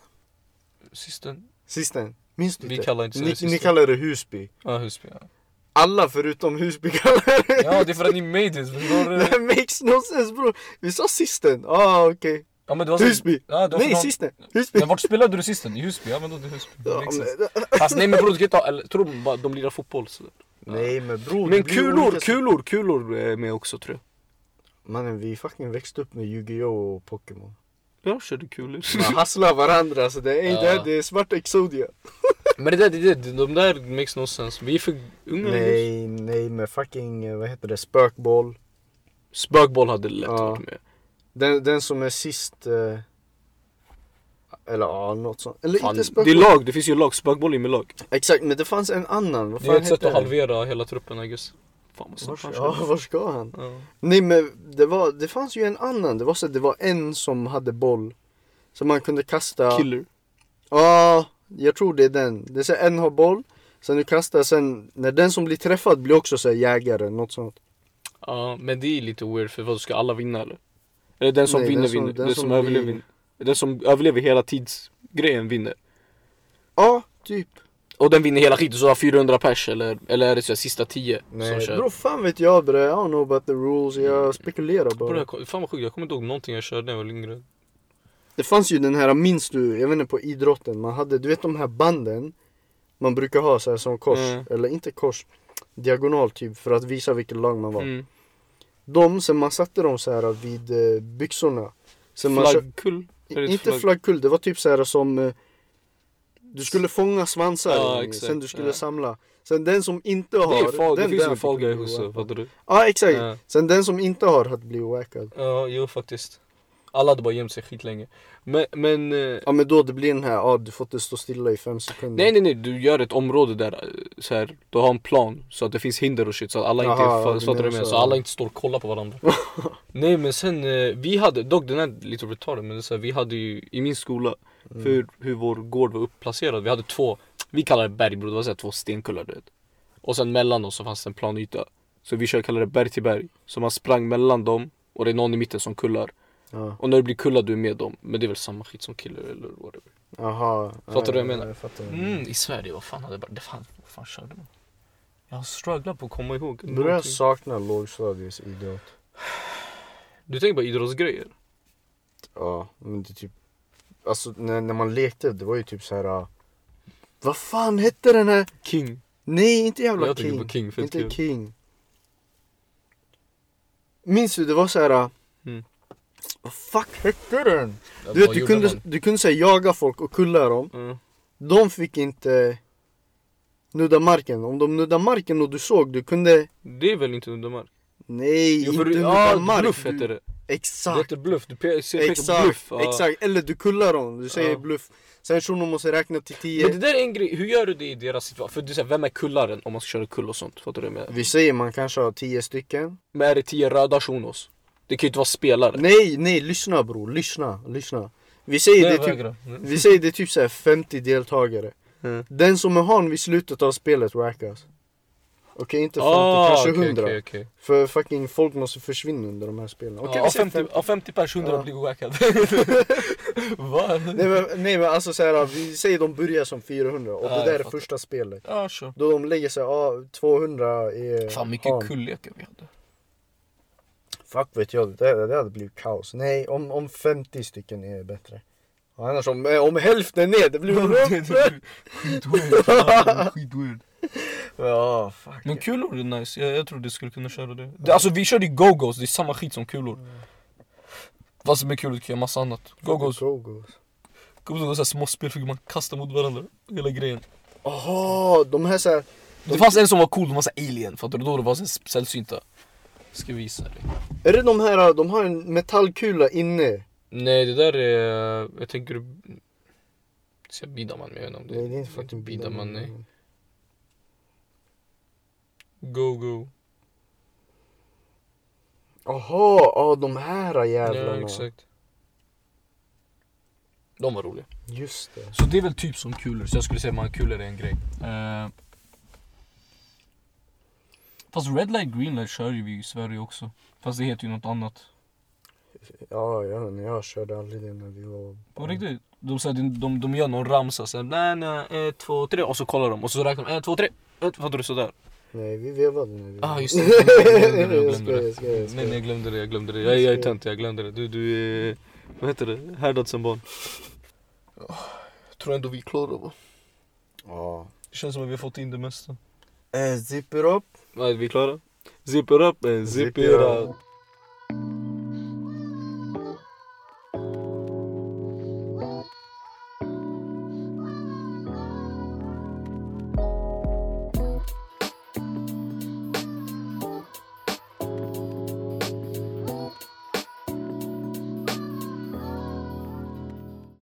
[SPEAKER 2] Sisten?
[SPEAKER 1] Sisten. Minns du
[SPEAKER 2] Vi
[SPEAKER 1] inte?
[SPEAKER 2] kallar inte så
[SPEAKER 1] ni,
[SPEAKER 2] sisten.
[SPEAKER 1] ni kallar det Husby.
[SPEAKER 2] Ja Husby ja.
[SPEAKER 1] Alla förutom Husby kallar det
[SPEAKER 2] Ja det är för att ni made it. Men då, eh,
[SPEAKER 1] That makes no sense bro. Vi sa Sisten. Ah okej.
[SPEAKER 2] ja, men det var
[SPEAKER 1] Husby.
[SPEAKER 2] Ja, det var
[SPEAKER 1] Nej
[SPEAKER 2] från-
[SPEAKER 1] Sisten. Husby.
[SPEAKER 2] Men vart spelade du sisten? I Husby? Ja men då det är Husby. Det
[SPEAKER 1] Ja,
[SPEAKER 2] makes sense.
[SPEAKER 1] men-
[SPEAKER 2] Fast nej men bror du kan ju ta, eller tror de bara de lirar fotboll så.
[SPEAKER 1] Nej men bro. det
[SPEAKER 2] Men
[SPEAKER 1] blir
[SPEAKER 2] kulor,
[SPEAKER 1] olika-
[SPEAKER 2] kulor, kulor är med också tror
[SPEAKER 1] Mannen vi fucking växte upp med Yu-Gi-Oh och Pokémon.
[SPEAKER 2] jag. Jag körde kulor.
[SPEAKER 1] Man hasslar varandra så det är inte
[SPEAKER 2] Ja.
[SPEAKER 1] det är svart Exodia.
[SPEAKER 2] men det där, det, det, de där makes no sense. Vi är för unga. Nej.
[SPEAKER 1] Nej, nej men fucking, eh, vad heter det, spökboll.
[SPEAKER 2] Spökboll hade lätt
[SPEAKER 1] Ja.
[SPEAKER 2] varit med.
[SPEAKER 1] Den, den som är sist, eh, eller ja, något sånt. Eller
[SPEAKER 2] Fan,
[SPEAKER 1] inte
[SPEAKER 2] det är
[SPEAKER 1] spökboll.
[SPEAKER 2] lag, det finns ju lag. Spökboll är med lag.
[SPEAKER 1] Exakt, men det fanns en annan. Vad
[SPEAKER 2] Det är
[SPEAKER 1] fan
[SPEAKER 2] ett sätt
[SPEAKER 1] hette
[SPEAKER 2] att
[SPEAKER 1] den?
[SPEAKER 2] halvera hela truppen I guess. Fan vad
[SPEAKER 1] Vars,
[SPEAKER 2] snabbt han
[SPEAKER 1] ja,
[SPEAKER 2] körde.
[SPEAKER 1] var ska han?
[SPEAKER 2] Ja.
[SPEAKER 1] Nej men det, var, det fanns ju en annan, det var, så, att det var en som hade boll Som man kunde kasta
[SPEAKER 2] Killer.
[SPEAKER 1] Ja, jag tror det är den. Det är så här, en har boll, sen du kastar, sen när den som blir träffad blir också så här jägare, något sånt.
[SPEAKER 2] Ja, men det är lite weird för vad ska alla vinna eller? Eller den som
[SPEAKER 1] Nej,
[SPEAKER 2] vinner
[SPEAKER 1] den som-
[SPEAKER 2] vinner, den,
[SPEAKER 1] den
[SPEAKER 2] som,
[SPEAKER 1] som
[SPEAKER 2] överlever
[SPEAKER 1] blir-
[SPEAKER 2] vinner. Den som överlever hela tidsgrejen vinner.
[SPEAKER 1] Ja, typ.
[SPEAKER 2] Och den vinner hela skiten så har 400 pers eller, eller är det så här, sista 10 som
[SPEAKER 1] Nej,
[SPEAKER 2] kör? Mm.
[SPEAKER 1] bro, fan vet jag bre. I don't know about the rules, jag spekulerar
[SPEAKER 2] Bro,
[SPEAKER 1] bara.
[SPEAKER 2] jag kom- fan vad sjukt, jag kommer inte ihåg någonting jag körde när jag var yngre.
[SPEAKER 1] Det fanns ju den här, minns du, jag vet inte på idrotten, man hade, du vet de här banden man brukar ha så här som kors,
[SPEAKER 2] Mm.
[SPEAKER 1] eller inte kors, diagonal typ för att visa vilket lag man var.
[SPEAKER 2] Mm.
[SPEAKER 1] De, sen man satte dem så här vid eh, byxorna. Sen man kö-
[SPEAKER 2] Flaggkull? Är det ett
[SPEAKER 1] Inte
[SPEAKER 2] flagg-
[SPEAKER 1] flaggkull, det var typ så här som eh, Du skulle fånga svansar
[SPEAKER 2] Ja,
[SPEAKER 1] i,
[SPEAKER 2] exakt,
[SPEAKER 1] sen du skulle
[SPEAKER 2] ja.
[SPEAKER 1] samla Sen den som inte har
[SPEAKER 2] Det, är fall, det
[SPEAKER 1] den
[SPEAKER 2] finns ju
[SPEAKER 1] där
[SPEAKER 2] en Fall
[SPEAKER 1] blir
[SPEAKER 2] Guy hos
[SPEAKER 1] oackad.
[SPEAKER 2] fattar du?
[SPEAKER 1] Ja exakt,
[SPEAKER 2] Ja.
[SPEAKER 1] sen den som inte har hade blivit oackad
[SPEAKER 2] Ja, jo faktiskt. Alla hade bara gömt sig skitlänge. Men, men eh,
[SPEAKER 1] Ja men då det blir den här, ja du får inte stå stilla i fem sekunder
[SPEAKER 2] nej nej nej, du gör ett område där eh, så här, du har en plan så att det finns hinder och shit så att alla inte,
[SPEAKER 1] Jaha,
[SPEAKER 2] fa-
[SPEAKER 1] du
[SPEAKER 2] fattar du
[SPEAKER 1] menar
[SPEAKER 2] med?
[SPEAKER 1] så.
[SPEAKER 2] Så alla inte står och kollar på varandra. nej men sen, eh, vi hade, dock den här lite retarded men det är så här, vi hade ju i min skola,
[SPEAKER 1] Mm.
[SPEAKER 2] för hur, hur vår gård var uppplacerad, vi hade två, vi kallar det berg bror, det var så här, två stenkullar du vet. Och sen mellan oss så fanns det en plan yta. Så vi kör kallade det berg till berg. Så man sprang mellan dem och det är någon i mitten som kullar.
[SPEAKER 1] Ja.
[SPEAKER 2] Och när du blir kullad du är med dem. Men det är väl samma skit som killar eller whatever.
[SPEAKER 1] Jaha
[SPEAKER 2] Fattar du vad jag menar?
[SPEAKER 1] jag fattar.
[SPEAKER 2] Mm, i Sverige, vad fan hade jag bara, det fan, vad fan körde man? Jag har strugglat på att komma ihåg
[SPEAKER 1] Börjar jag
[SPEAKER 2] någonting.
[SPEAKER 1] sakna lågstadiesidrott
[SPEAKER 2] Du tänker på idrottsgrejer?
[SPEAKER 1] Ja, men det är typ Alltså när, när man lekte, det var ju typ så här. ah, Vad fan hette den här?
[SPEAKER 2] King.
[SPEAKER 1] Nej, inte jävla
[SPEAKER 2] Jag tänker
[SPEAKER 1] King.
[SPEAKER 2] på King, fett
[SPEAKER 1] inte
[SPEAKER 2] kul.
[SPEAKER 1] King. Minns du, det var så här.
[SPEAKER 2] Mm.
[SPEAKER 1] Vad fuck hette den? Du, vet, du, kunde, du kunde säga jaga folk och kulla dem.
[SPEAKER 2] Mm.
[SPEAKER 1] De fick inte nudda marken. Om de nuddade marken och du såg, du kunde...
[SPEAKER 2] Det är väl inte under mark?
[SPEAKER 1] Nej,
[SPEAKER 2] Jo, för
[SPEAKER 1] inte
[SPEAKER 2] du- ah,
[SPEAKER 1] nudda mark.
[SPEAKER 2] bluff
[SPEAKER 1] du,
[SPEAKER 2] heter det. Det
[SPEAKER 1] Exakt.
[SPEAKER 2] heter bluff, du pe- ser pekar på
[SPEAKER 1] Exakt,
[SPEAKER 2] bluff. ja.
[SPEAKER 1] exakt. Eller du kullar dem, du säger
[SPEAKER 2] Ja.
[SPEAKER 1] bluff. Sen shunon måste räkna till
[SPEAKER 2] Men det
[SPEAKER 1] 10.
[SPEAKER 2] där är en grej, hur gör du det i deras situation? För du säger, vem är kullaren om man ska köra kull och sånt? Fattar du vad jag menar?
[SPEAKER 1] Vi säger man kanske har 10 stycken.
[SPEAKER 2] Men är det tio röda shunos? Det kan ju inte vara spelare.
[SPEAKER 1] Nej, nej, lyssna bror, lyssna, lyssna. Vi säger, det typ, vi säger det är typ så här 50 deltagare.
[SPEAKER 2] Mm.
[SPEAKER 1] Den som är han vid slutet av spelet rackas. Okej, inte 50,
[SPEAKER 2] Ah,
[SPEAKER 1] kanske 100.
[SPEAKER 2] Okay, okay.
[SPEAKER 1] För fucking folk måste försvinna under de här spelen. Okej,
[SPEAKER 2] ja,
[SPEAKER 1] vi
[SPEAKER 2] av,
[SPEAKER 1] säger
[SPEAKER 2] 50, av 50 pers 100
[SPEAKER 1] Ja.
[SPEAKER 2] blir owackad. Va?
[SPEAKER 1] Nej men, nej, men alltså så här, vi säger de börjar som 400 och
[SPEAKER 2] Ja,
[SPEAKER 1] det där
[SPEAKER 2] jag
[SPEAKER 1] är
[SPEAKER 2] fattar.
[SPEAKER 1] första spelet.
[SPEAKER 2] Ja, sure.
[SPEAKER 1] Då de lägger sig, ja 200 är
[SPEAKER 2] Fan mycket
[SPEAKER 1] han.
[SPEAKER 2] kullekar vi hade.
[SPEAKER 1] Fuck vet jag, det, där- det hade blivit kaos. Nej, om, om 50 stycken är bättre. Och Annars om, eh, om hälften är, det blir rummet!
[SPEAKER 2] Skitweird. Skitweird.
[SPEAKER 1] Ja, fuck.
[SPEAKER 2] Men kulor är nice, jag, jag tror du skulle kunna köra det. det alltså vi körde ju go-go's, det är samma skit som kulor. Fast med kulor kan jag massa annat. Go-go's,
[SPEAKER 1] Go-go's.
[SPEAKER 2] kommer du ihåg såhär små spel fick man kasta mot varandra? Hela grejen.
[SPEAKER 1] Jaha, de här såhär...
[SPEAKER 2] Det fanns en som var cool, de var såhär alien, fattar du? Då det var såhär sällsynta. Ska visa dig.
[SPEAKER 1] Är det de här, de har en metallkula inne?
[SPEAKER 2] Nej det där är, jag tänker du... Ska jag bidaman? Men jag vet inte om det,
[SPEAKER 1] Nej det är inte fucking
[SPEAKER 2] bidaman. Nej. Go go.
[SPEAKER 1] Jaha, ja de här
[SPEAKER 2] Ja
[SPEAKER 1] jävlarna.
[SPEAKER 2] exakt. De var roliga.
[SPEAKER 1] Just det.
[SPEAKER 2] Så det är väl typ som kulor, så jag skulle säga att kulor är en grej. Eh, fast red light green light kör ju vi i Sverige också. Fast det heter ju något annat.
[SPEAKER 1] Ja, jag, jag körde aldrig det när vi var...
[SPEAKER 2] På riktigt. De, säger, de, de, de gör någon ramsa såhär, nej nej, ett, två, tre och så kollar de och så räknar de, ett, två, tre. Ett, fattar du sådär?
[SPEAKER 1] Nej, vi vevade när vi
[SPEAKER 2] Ah just det,
[SPEAKER 1] det.
[SPEAKER 2] jag glömde det, jag
[SPEAKER 1] jag
[SPEAKER 2] glömde
[SPEAKER 1] skojar,
[SPEAKER 2] det.
[SPEAKER 1] jag skojar. jag
[SPEAKER 2] Nej, nej,
[SPEAKER 1] skojar.
[SPEAKER 2] jag glömde det, jag glömde det. Jag, jag är tönt, jag glömde det. Du, du är... Vad heter det? Härdad som barn. Jag tror ändå vi är klara va?
[SPEAKER 1] Ja.
[SPEAKER 2] Det känns som att vi har fått in det mesta.
[SPEAKER 1] Eh, Zipper up.
[SPEAKER 2] Nej, vi är klara. Zip it up and zip, it
[SPEAKER 1] Zip it
[SPEAKER 2] out.